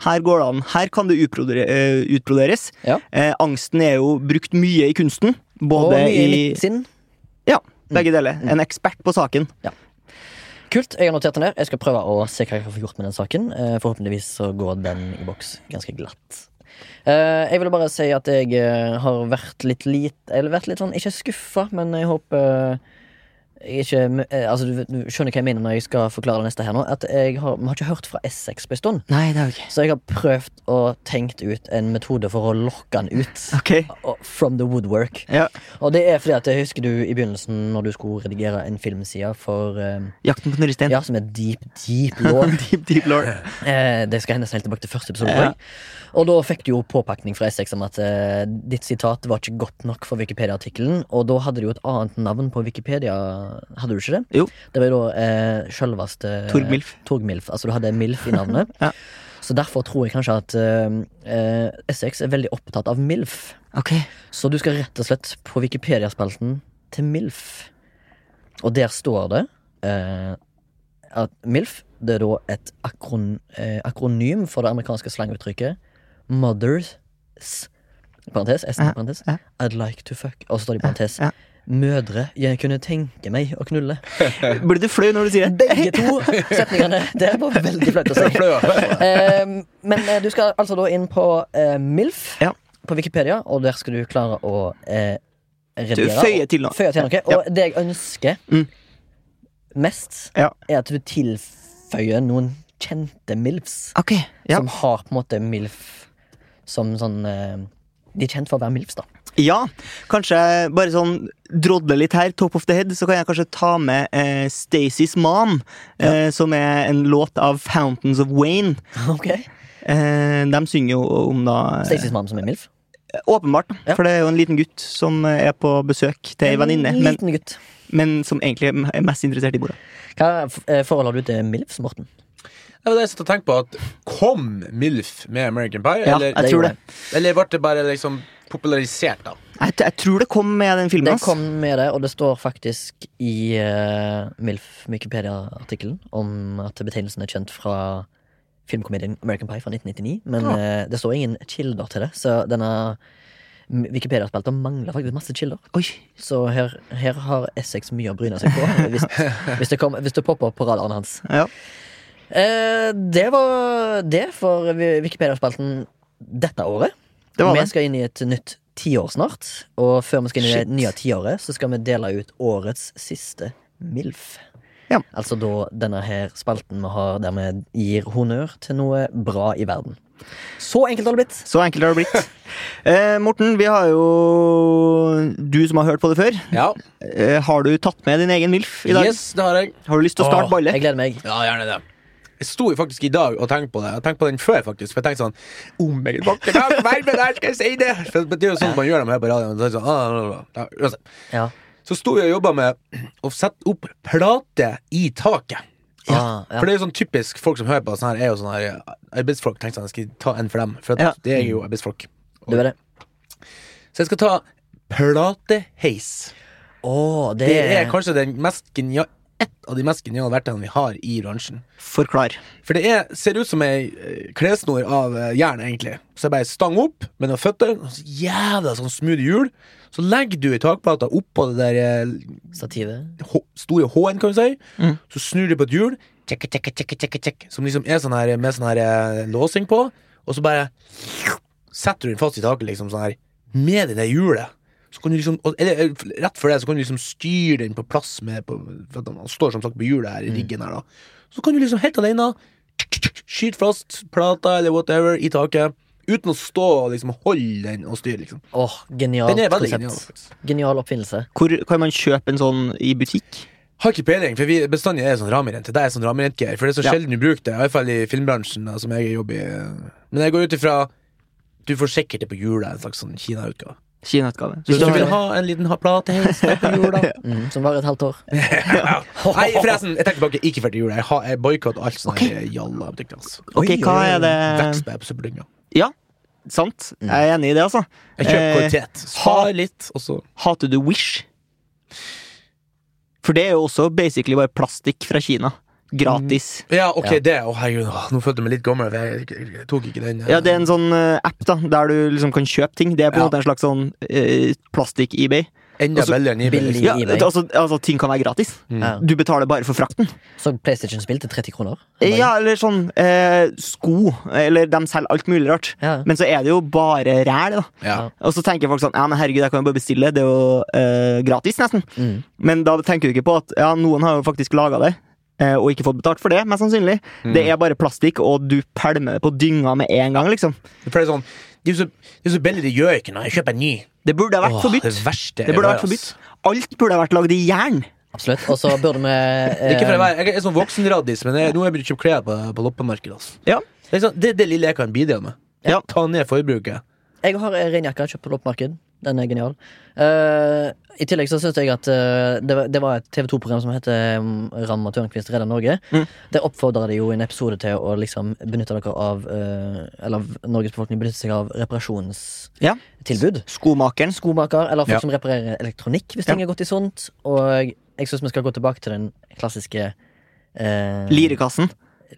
her går det an. Her kan det utbrodere- eh, utbroderes.
Ja.
Eh, angsten er jo brukt mye i kunsten.
Og
Både
mye i
i
mitt sinn.
Ja, begge deler. En ekspert på saken.
Kult. Jeg har notert den der. Jeg skal prøve å se hva jeg kan få gjort med den saken. Eh, Forhåpentligvis så går den i boks ganske glatt. Eh, jeg ville bare si at jeg eh, har vært litt lit Eller vært litt sånn, ikke skuffa, men jeg håper jeg er ikke, eh, altså, du, du skjønner hva jeg mener når jeg skal forklare det neste her nå. At jeg har, vi har ikke hørt fra Essex på en stund.
Nei, det er jo ikke
Så jeg har prøvd og tenkt ut en metode for å lokke han ut.
Ok.
Og- From the woodwork.
Ja.
Og det er fordi at jeg husker du i begynnelsen når du skulle redigere en filmside for eh,
Jakten på Nuristein.
Ja, som er deep, deep law.
deep, deep lord.
Eh, det skal hendes helt tilbake til første episode.
Ja.
tror jeg. Og da fikk du jo påpakning fra Essex om at eh, ditt sitat var ikke godt nok for Wikipedia-artikkelen, og da hadde du jo et annet navn på Wikipedia, hadde du ikke det?
Jo.
Det var jo da eh, sjølveste
Torgmilf.
Torgmilf. Altså du hadde Milf i navnet.
Ja.
Så derfor tror jeg kanskje at eh, eh, Essex er veldig opptatt av Milf.
Ok.
Så du skal rett og slett på Wikipedia-spalten til MILF. Og der står det eh, at MILF det er da et akron, eh, akronym for det amerikanske slanguttrykket Mothers parentes, S,
Ja,
parentes,
ja.
I'd like to fuck. Og så står det i parentes
ja.
Mødre, jeg kunne tenke meg å knulle.
Blir du flau når du sier det?
Begge to setningene der var veldig flaut å si.
Fløa.
Eh, men eh, du skal altså da inn på eh, MILF
Ja.
på Wikipedia, og der skal du klare å eh,
Du
redigere.
føyer til nå.
Føyer til noe. Og det jeg ønsker
Mm.
mest,
Ja.
er at du tilføyer noen kjente MILFs.
Ok. Sånn. Ja.
Som har på en måte MILF som sånn eh, De er kjent for å være MILFs, da.
ja. Kanskje bare sånn drodle litt her, top of the head, så kan jeg kanskje ta med eh, Stacey's Mom, eh, som er en låt av Fountains of Wayne.
Ok
Eh, de synger jo om da eh,
Stacys mann som er MILF.
Åpenbart, da,
Ja.
for det er jo en liten gutt som er på besøk til ei venninne,
En
men,
Liten gutt.
men som egentlig er mest interessert i bordet.
Hva eh, forhold har du til MILFs, Morten?
Det var det jeg satt og tenkte på. At kom MILF med American Pie?
Ja,
eller,
jeg
det
tror
gjorde
det.
eller ble det bare liksom popularisert, da?
Jeg, t- jeg tror det kom med den filmen.
Den
ass.
kom med det, og det står faktisk i eh, MILF Wikipedia-artikkelen om at betegnelsen er kjent fra filmkomedien American Pie fra 1999. Men eh, det står ingen kilder til det, så denne m- Wikipedia-spalta mangler faktisk masse kilder.
Oi,
Så her, her har Essex mye å bryne seg på, hvis, hvis, det, kom, hvis det popper opp på radaren hans.
ja.
Eh, det var det for Wi- Wikipedia-spalten dette året.
Det var det.
Vi skal inn i et nytt tiår snart. Og før vi skal inn i det nye tiåret, så skal vi dele ut årets siste MILF.
Ja.
Altså da denne her spalten vi har der vi gir honnør til noe bra i verden. Så enkelt har det blitt.
Så enkelt har det blitt. Eh, Morten, vi har jo Du som har hørt på det før,
Ja.
eh, har du tatt med din egen MILF i dag?
Yes, det har jeg.
Har du lyst til å starte
Åh,
ballet?
Jeg gleder meg.
Ja, gjerne det. Jeg sto jo faktisk i dag og tenkte på det. Jeg tenkte på den før, faktisk. For jeg tenkte sånn Umiddelbart det kan være med der, skal jeg si det! For det er jo sånn man gjør det her på radioen. Så, sånn, ah, bla, bla, bla. Ja,
Ja.
uansett. så sto jeg og jobba med å sette opp plate i taket.
Ja, Ah, ja.
For det er jo sånn typisk folk som hører på sånn her, er jo sånn her eh, arbeidsfolk. Tenkte sånn, jeg skal ta en for dem. For at
Ja.
det er jo arbeidsfolk.
Du er det.
Så jeg skal ta plateheis.
Å, det,
Det er kanskje den mest genia- et av de mest geniale verktøyene vi har i bransjen.
Forklar.
For det er, ser ut som ei eh, klessnor av eh, jern, egentlig. Så jeg bare stang opp med noen føtter, og så jævla sånn smooth hjul. Så legger du i takplata oppå det der eh,
Stativet.
H, store H-en, kan du si. Så snur du på et hjul, tjekke, tjekke, tjekke, tjekke, tjekke, som liksom er sånn her med sånn her eh, låsing på, og så bare setter du den fast i taket, liksom sånn her, med det der hjulet. Så kan du liksom, og- eller eh, rett før det, så kan du liksom styre den på plass med på, For at han står som sagt på hjulet her i riggen her, da. Så kan du liksom helt alene skyte fast plata eller whatever i taket, uten å stå og liksom holde den og styre, liksom.
Åh, genialt
Den er veldig genial.
konsept.
faktisk.
Genial oppfinnelse.
Hvor kan man kjøpe en sånn i butikk?
Har ikke peiling, for vi bestandig er sånn ramirente. Det er sånn ramirentgreier, for det er så
Ja.
sjelden du bruker det. I hvert fall i filmbransjen, da, som jeg jobber i. Men jeg går ut ifra du får sikkert det på jula, en slags sånn Kina-utgave.
Kinautgave.
Hvis du
har-
vil ha en liten ha- plateheis med på jula
Mm, som varer et halvt år.
Nei, forresten, jeg tenker tilbake. Ikke for til jula. Jeg, har- jeg boikotter alt sånn okay. jalla butikker. Altså.
Ok,
Oi,
hva
oi, oi.
er det
Vekst med på søppeldynga.
Ja, sant. Jeg er enig i det, altså.
Jeg kjøper
Eh,
kvalitet. Spar litt, og så
Hater du Wish? For det er jo også basically bare plastikk fra Kina. Gratis.
Ja, ok, det. Å, herregud, åh, nå følte jeg meg litt gammel. for Jeg, jeg, jeg tok ikke den. eh.
Ja, det er en sånn eh, app da, der du liksom kan kjøpe ting. Det er på en
Ja.
måte en slags sånn eh, plastikk-eBay.
Enda
Altså,
billigere enn eBay.
billig-
liksom.
Ja,
eBay.
altså, altså, ting kan være gratis.
Mm.
Ja.
Du betaler bare for frakten.
Så PlayStation-spill til 30 kroner.
Ja, eller sånn eh, sko. Eller de selger alt mulig rart.
Ja.
Men så er det jo bare ræl, da.
Ja.
Og så tenker folk sånn Ja, men herregud, jeg kan jo bare bestille. Det er jo eh, gratis, nesten.
Mm.
Men da tenker du ikke på at ja, noen har jo faktisk laga det. eh, Og ikke fått betalt for det, mest sannsynlig. Det er bare plastikk, og du pælmer det på dynga med en gang. liksom
Det pleier sånn Det er så, det er så billig, det gjør ikke noe. Jeg kjøper en ny.
Det burde ha vært
Åh,
forbudt.
Det verste
Det
jeg
burde ha
har,
vært forbudt.
ass.
Alt burde ha vært lagd i jern.
Absolutt. Og så burde vi eh,
Ikke for å være Jeg er sånn voksenradis, men jeg, nå har jeg begynt å kjøpe klær på, på loppemarkedet. ass.
Ja.
Det er sånn, det, er det lille jeg kan bidra med.
Ja.
Ta ned forbruket.
Jeg har eh, ren jakke kjøpt på loppemarked. Den er genial. Eh, I tillegg så syns jeg at eh, det, var- det var et TV2-program som heter um, Ramma Tørnquist redder Norge.
Mm.
Det oppfordra de jo i en episode til å liksom benytte dere av eh, Eller av Norges befolkning benytte seg av reparasjonstilbud.
Ja. Skomakeren.
Skomaker, eller folk
Ja.
som reparerer elektronikk, hvis
Ja.
ting er gått i sånt. Og jeg syns vi skal gå tilbake til den klassiske eh,
Lirekassen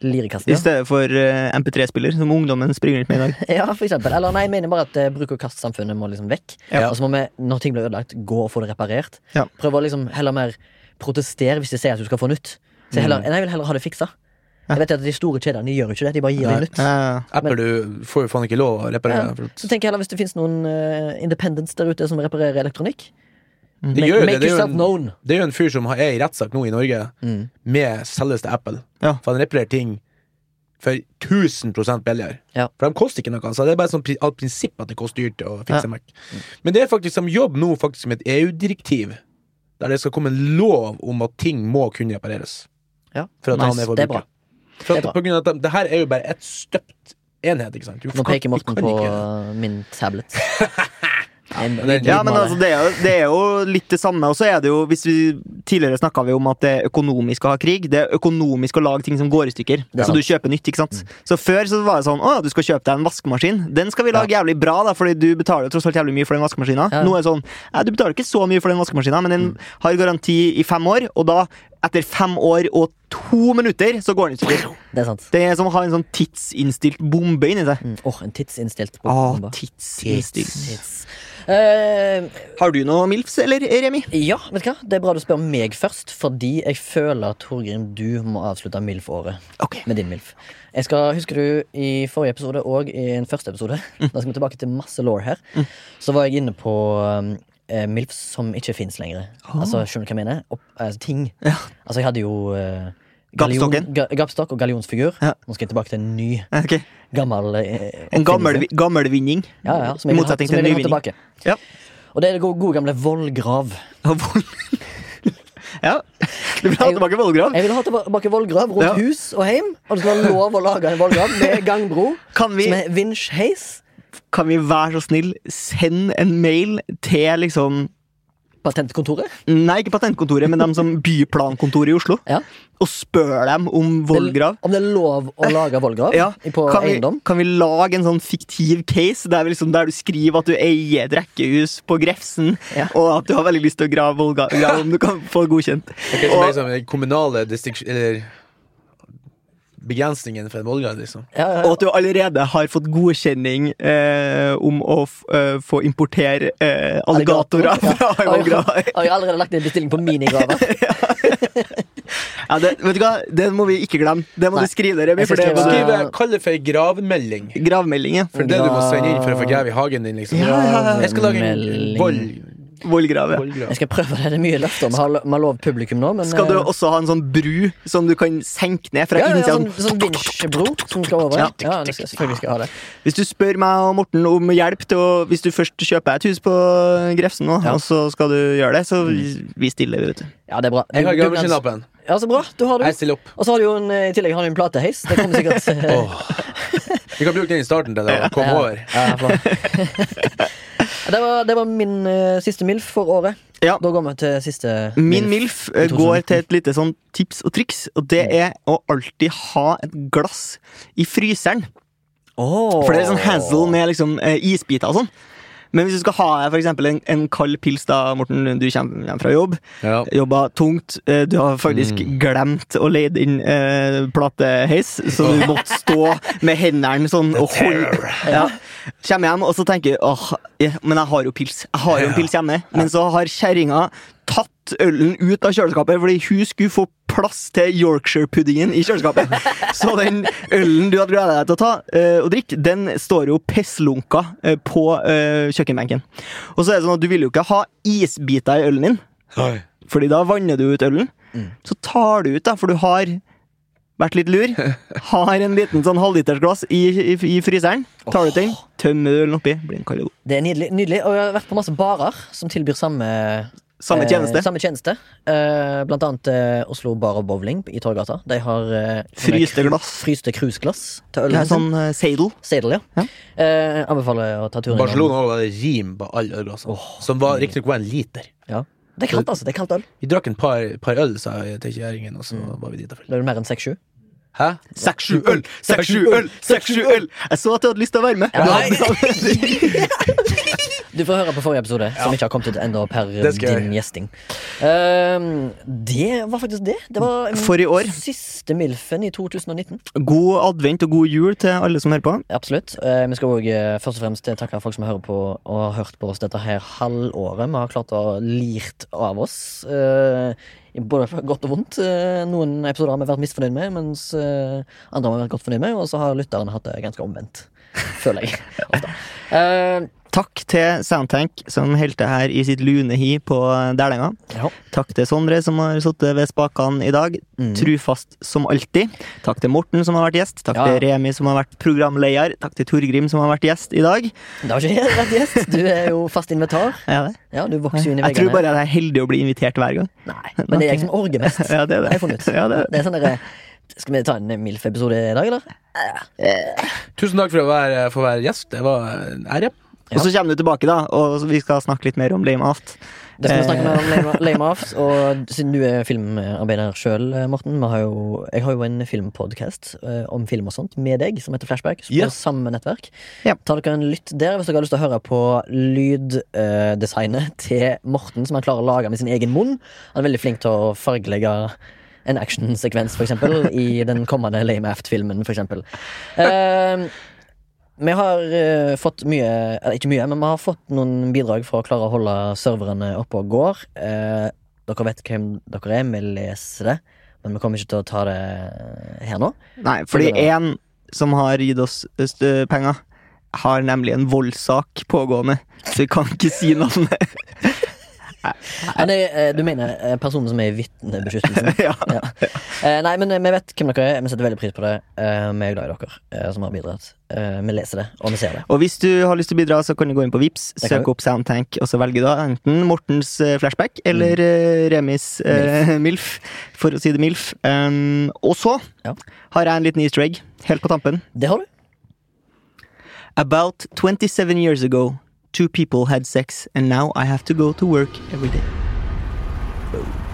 lirekassen.
i
Ja.
stedet for eh, MP3-spiller, som ungdommen springer rundt med i dag.
Ja, for eksempel. Eller nei, jeg mener bare at eh, bruk- og kastsamfunnet må liksom vekk.
Ja.
Og så må vi, når ting blir ødelagt, gå og få det reparert.
Ja.
Prøve å liksom heller mer protestere hvis de sier at du skal få nytt. Så heller,
Mm.
Nei, jeg vil heller ha det fiksa. Jeg vet at De store kjedene de gjør jo ikke det. De bare gir deg nytt.
Eh,
Apple du får jo faen ikke lov å reparere.
Ja.
for-
Så tenker jeg heller Hvis det finnes noen eh, independents der ute som reparerer elektronikk
Det gjør jo
Make
det. Det er jo
yourself
en,
known.
det er jo en fyr som har- er i rettssak nå i Norge
Mm.
med selveste Apple.
Ja.
For han reparerer ting for 1000 billigere.
Ja.
For de koster ikke noe. Altså. Det er bare sånn pri- av prinsipp at det koster dyrt å fikse en Mac. Men det er faktisk som jobb nå faktisk med et EU-direktiv, der det skal komme en lov om at ting må kunne repareres.
Ja.
For at
Nice.
han er
Det er bra.
forbruker. For
Det er
at,
bra.
på grunn av at de, det her er jo bare et støpt enhet, ikke sant? Du
Nå
kan-
peker
du
Morten
kan
på eh,
ikke-
min tablet. En
men
Ja, men
lydmale.
altså, det er, jo, det er jo litt det samme. Og så er det jo, hvis vi Tidligere snakka vi om at det er økonomisk å ha krig. Det er økonomisk å lage ting som går i stykker.
Ja. Mm.
Så du kjøper nytt, ikke sant. Så før så var det sånn Å, du skal kjøpe deg en vaskemaskin. Den skal vi lage jævlig bra, da, fordi du betaler jo tross alt jævlig mye for den vaskemaskina.
Ja. Mm.
Nå er det sånn Nei, du betaler ikke så mye for den vaskemaskina, men den har garanti i fem år, og da, etter fem år og to minutter, så går den i stykker.
Det er sant.
Det er som å ha en sånn tidsinnstilt bombe inni seg.
Mm. Åh, en tidsinnstilt
Å,
Ah,
bombe.
tidsinnstilt.
Tids. Eh,
Har du noe Milfs, eller Remi?
Ja, vet du hva? Det er bra du spør meg først, fordi jeg føler at Torgrim, du må avslutte MILF-året
Ok.
med din MILF. Jeg skal, Husker du i forrige episode og i den første episode,
Mm.
da skal vi tilbake til masse law her, så var jeg inne på um, eh, MILF som ikke fins lenger.
Ah.
Altså, Skjønner du hva jeg mener? Opp, altså, ting. Altså, jeg hadde jo eh, gallion-
Gapstokken.
ga- Gapstokk og gallionsfigur.
Ja.
Nå skal jeg tilbake til en ny,
Ok.
gammel eh,
En gammel,
oppfinnelse.
gammel vinning.
Ja, ja, som
I
jeg vil ha,
motsetning
som
til
jeg vil
en ny
ha
vinning.
tilbake.
Ja.
Og det er det gode, gode gamle vollgrav.
ja. Du vil ha tilbake vollgrav?
Jeg vil ha tilbake vollgrav rundt
Ja.
hus og heim. Og det skal være lov å lage en vollgrav med gangbro.
Kan vi-
Som er vinsjheis.
Kan vi være så snill, send en mail til liksom
Patentkontoret.
Nei, ikke patentkontoret, men dem som byplankontoret i Oslo,
Ja.
og spør dem om vollgrav? Eh,
Om det er lov å lage vollgrav
Ja.
på
Kan vi,
eiendom.
kan vi lage en sånn fiktiv case der, vi liksom, der du skriver at du eier et rekkehus på Grefsen,
Ja.
og at du har veldig lyst til å grave vollgrav om du kan få godkjent?
Det er som
Og-
liksom den kommunale distriks... Eller begrensningen for en vollgrad, liksom.
Ja, ja,
Og
ja.
at du allerede har fått godkjenning eh, om å f eh, få importere eh, alligatorer
Ja.
fra
Har jeg-
Øyvåggrava.
Har jeg allerede lagt ned bestilling på minigraver?
Ja, det, vet du hva? Det må vi ikke glemme. Det må
Nei.
du skrive dere.
Jeg skal
For det
skrive-
var
Skriv eh, Kall det for ei gravmelding.
gravmeldinger.
For det er det du må sende inn for å få grave i hagen din, liksom.
Ja, ja, ja.
Jeg skal lage en
Melding.
voll,
Vollgrav. ja.
Jeg skal prøve det. Det er mye løfter. Vi har lo- vi har lov publikum nå, men
Skal du
eh,
også ha en sånn bru som du kan senke ned fra
ja, ja, ja, sånn, sånn
innsiden?
vinsjbro som skal over. Ja,
Ja.
ja det skal, selvfølgelig skal jeg ha det.
Hvis du spør meg og Morten om hjelp til å Hvis du først kjøper et hus på Grefsen nå,
Ja.
og så skal du gjøre det, så vi, vi stiller, vi, vet du.
Ja, det er bra.
Jeg har
Du- du kan-
gravemaskinnlappen.
Ja, så bra. Du har det.
Jeg stiller opp.
Og så har du jo en, i tillegg har du en plateheis. Det kommer sikkert eh,
Vi kan bruke den i starten til å komme over.
Ja, flott. det, var, det var min eh, siste MILF for året.
Ja.
Da går vi til siste
Min MILF eh,
2019.
går til et lite sånn tips og triks, og det er å alltid ha et glass i fryseren.
Åh.
For det er sånn hazel med liksom eh, isbiter og sånn. Men hvis du skal ha deg for eksempel en, en kald pils, da, Morten, du kommer hjem fra jobb,
Ja.
jobba tungt, eh, du har faktisk glemt å leie inn eh, plateheis, så du måtte stå med hendene sånn og holde ja. Kommer hjem, og så tenker jeg åh, ja, men jeg har jo pils. Jeg har jo en pils hjemme. Men så har kjerringa tatt ølen ut av kjøleskapet fordi hun skulle få plass til Yorkshire-puddingen i kjøleskapet. Så den ølen du hadde gleda deg til å ta eh, og drikke, den står jo pisslunka eh, på eh, kjøkkenbenken. Og så er det sånn at du vil jo ikke ha isbiter i ølen din. Fordi da vanner du ut ølen. Så tar du ut, da, for du har vært litt lur. Har en liten sånn halvliters glass i, i, i fryseren. Tar du ut den, tømmer ølen oppi. Blir en kald og god.
Det er nydelig, nydelig. Og jeg har vært på masse barer som tilbyr samme
Samme
eh,
tjeneste.
samme tjeneste. Eh, blant annet eh, Oslo Bar og Bowling i Torgata. De har eh,
Fryste glass.
fryste cruiseglass til
Det
ølen.
er sånn eh, seidel.
Sedel, ja. Eh, anbefaler å ta turen
Barcelona også var det rim på alle ølglassene, som var riktignok var en liter.
Ja. Det er kaldt, altså. Det er kaldt øl.
Vi drakk en par, par øl, sa jeg til kjerringen, og så
Mm.
var vi drita fulle.
Da er det mer enn 6-7.
Hæ?
Seks-sju øl! Seks-sju øl! Seks-sju øl! Jeg så at du hadde lyst til å være med.
Du får høre på forrige episode, som ikke har kommet ut ennå per
Det skal jeg.
din gjesting. Ehm, det var faktisk det. Det var
For i år.
siste Milfen i 2019.
God advent og god jul til alle som hører på.
Absolutt. Eh, vi skal òg først og fremst eh, takke folk som hører på og har hørt på oss dette her halvåret. Vi har klart å ha lirt av oss. eh, i både for godt og vondt. Eh, noen episoder har vi vært misfornøyd med, mens eh, andre har vi vært godt fornøyd med. Og så har lytterne hatt det ganske omvendt, føler jeg. Ofte. Eh,
Takk til Soundtank, som helte her i sitt lune hi på Dælenga.
ja.
Takk til Sondre, som har sittet ved spakene i dag.
Mm.
Trufast som alltid. Takk til Morten, som har vært gjest. Takk
Ja.
til Remi, som har vært programleder. Takk til Torgrim, som har vært gjest i dag.
Det har ikke vært gjest. Du er jo fast invitar.
Er jeg det?
Ja, du vokser jo inn i
Jeg tror
veggene.
bare at jeg er heldig å bli invitert hver gang.
Nei, men det er jeg som orger mest.
Ja, det er det.
har jeg funnet ut.
Ja, det er det.
Det er sånn derre Skal vi ta en MILF-episode i dag, eller?
Tusen takk for å være, for å være gjest. Det var en ære.
Og så kommer du tilbake, da, og vi skal snakke litt mer om Lame Aft.
Det skal vi snakke mer om lame- Lame Offs. Og siden du er filmarbeider sjøl, Morten vi har jo, Jeg har jo en filmpodkast eh, om film og sånt med deg, som heter Flashback. Som
Ja.
er samme nettverk.
Ja.
Ta dere en lytt der hvis dere har lyst til å høre på lyddesignet eh, til Morten, som han klarer å lage med sin egen munn. Han er veldig flink til å fargelegge en actionsekvens, for eksempel, i den kommende Lame Aft-filmen, for eksempel. Eh, vi har eh, fått mye Eller ikke mye, men vi har fått noen bidrag for å klare å holde serverne oppe og går. Eh, dere vet hvem dere er, vi leser det, men vi kommer ikke til å ta det eh, her nå.
Nei, fordi én som har gitt oss øst, ø, penger, har nemlig en voldssak pågående. Så vi kan ikke si navnet.
Men det, eh, du mener eh, personen som er i vitnebeskyttelsen?
Ja.
Eh, nei, men eh, vi vet hvem dere er, vi setter veldig pris på det. Eh, vi er glad i dere eh, som har bidratt. Eh, vi leser det, og vi ser det.
Og hvis du har lyst til å bidra, så kan du gå inn på Vips,
Det kan
søke opp Soundtank, og så velge da enten Mortens eh, flashback eller eh, Remis eh, MILF, for å si det MILF. Um, og så
Ja.
har jeg en liten easter egg, helt på tampen.
Det har du.
About 27 years ago, two people had sex, and now I have to go to work every day.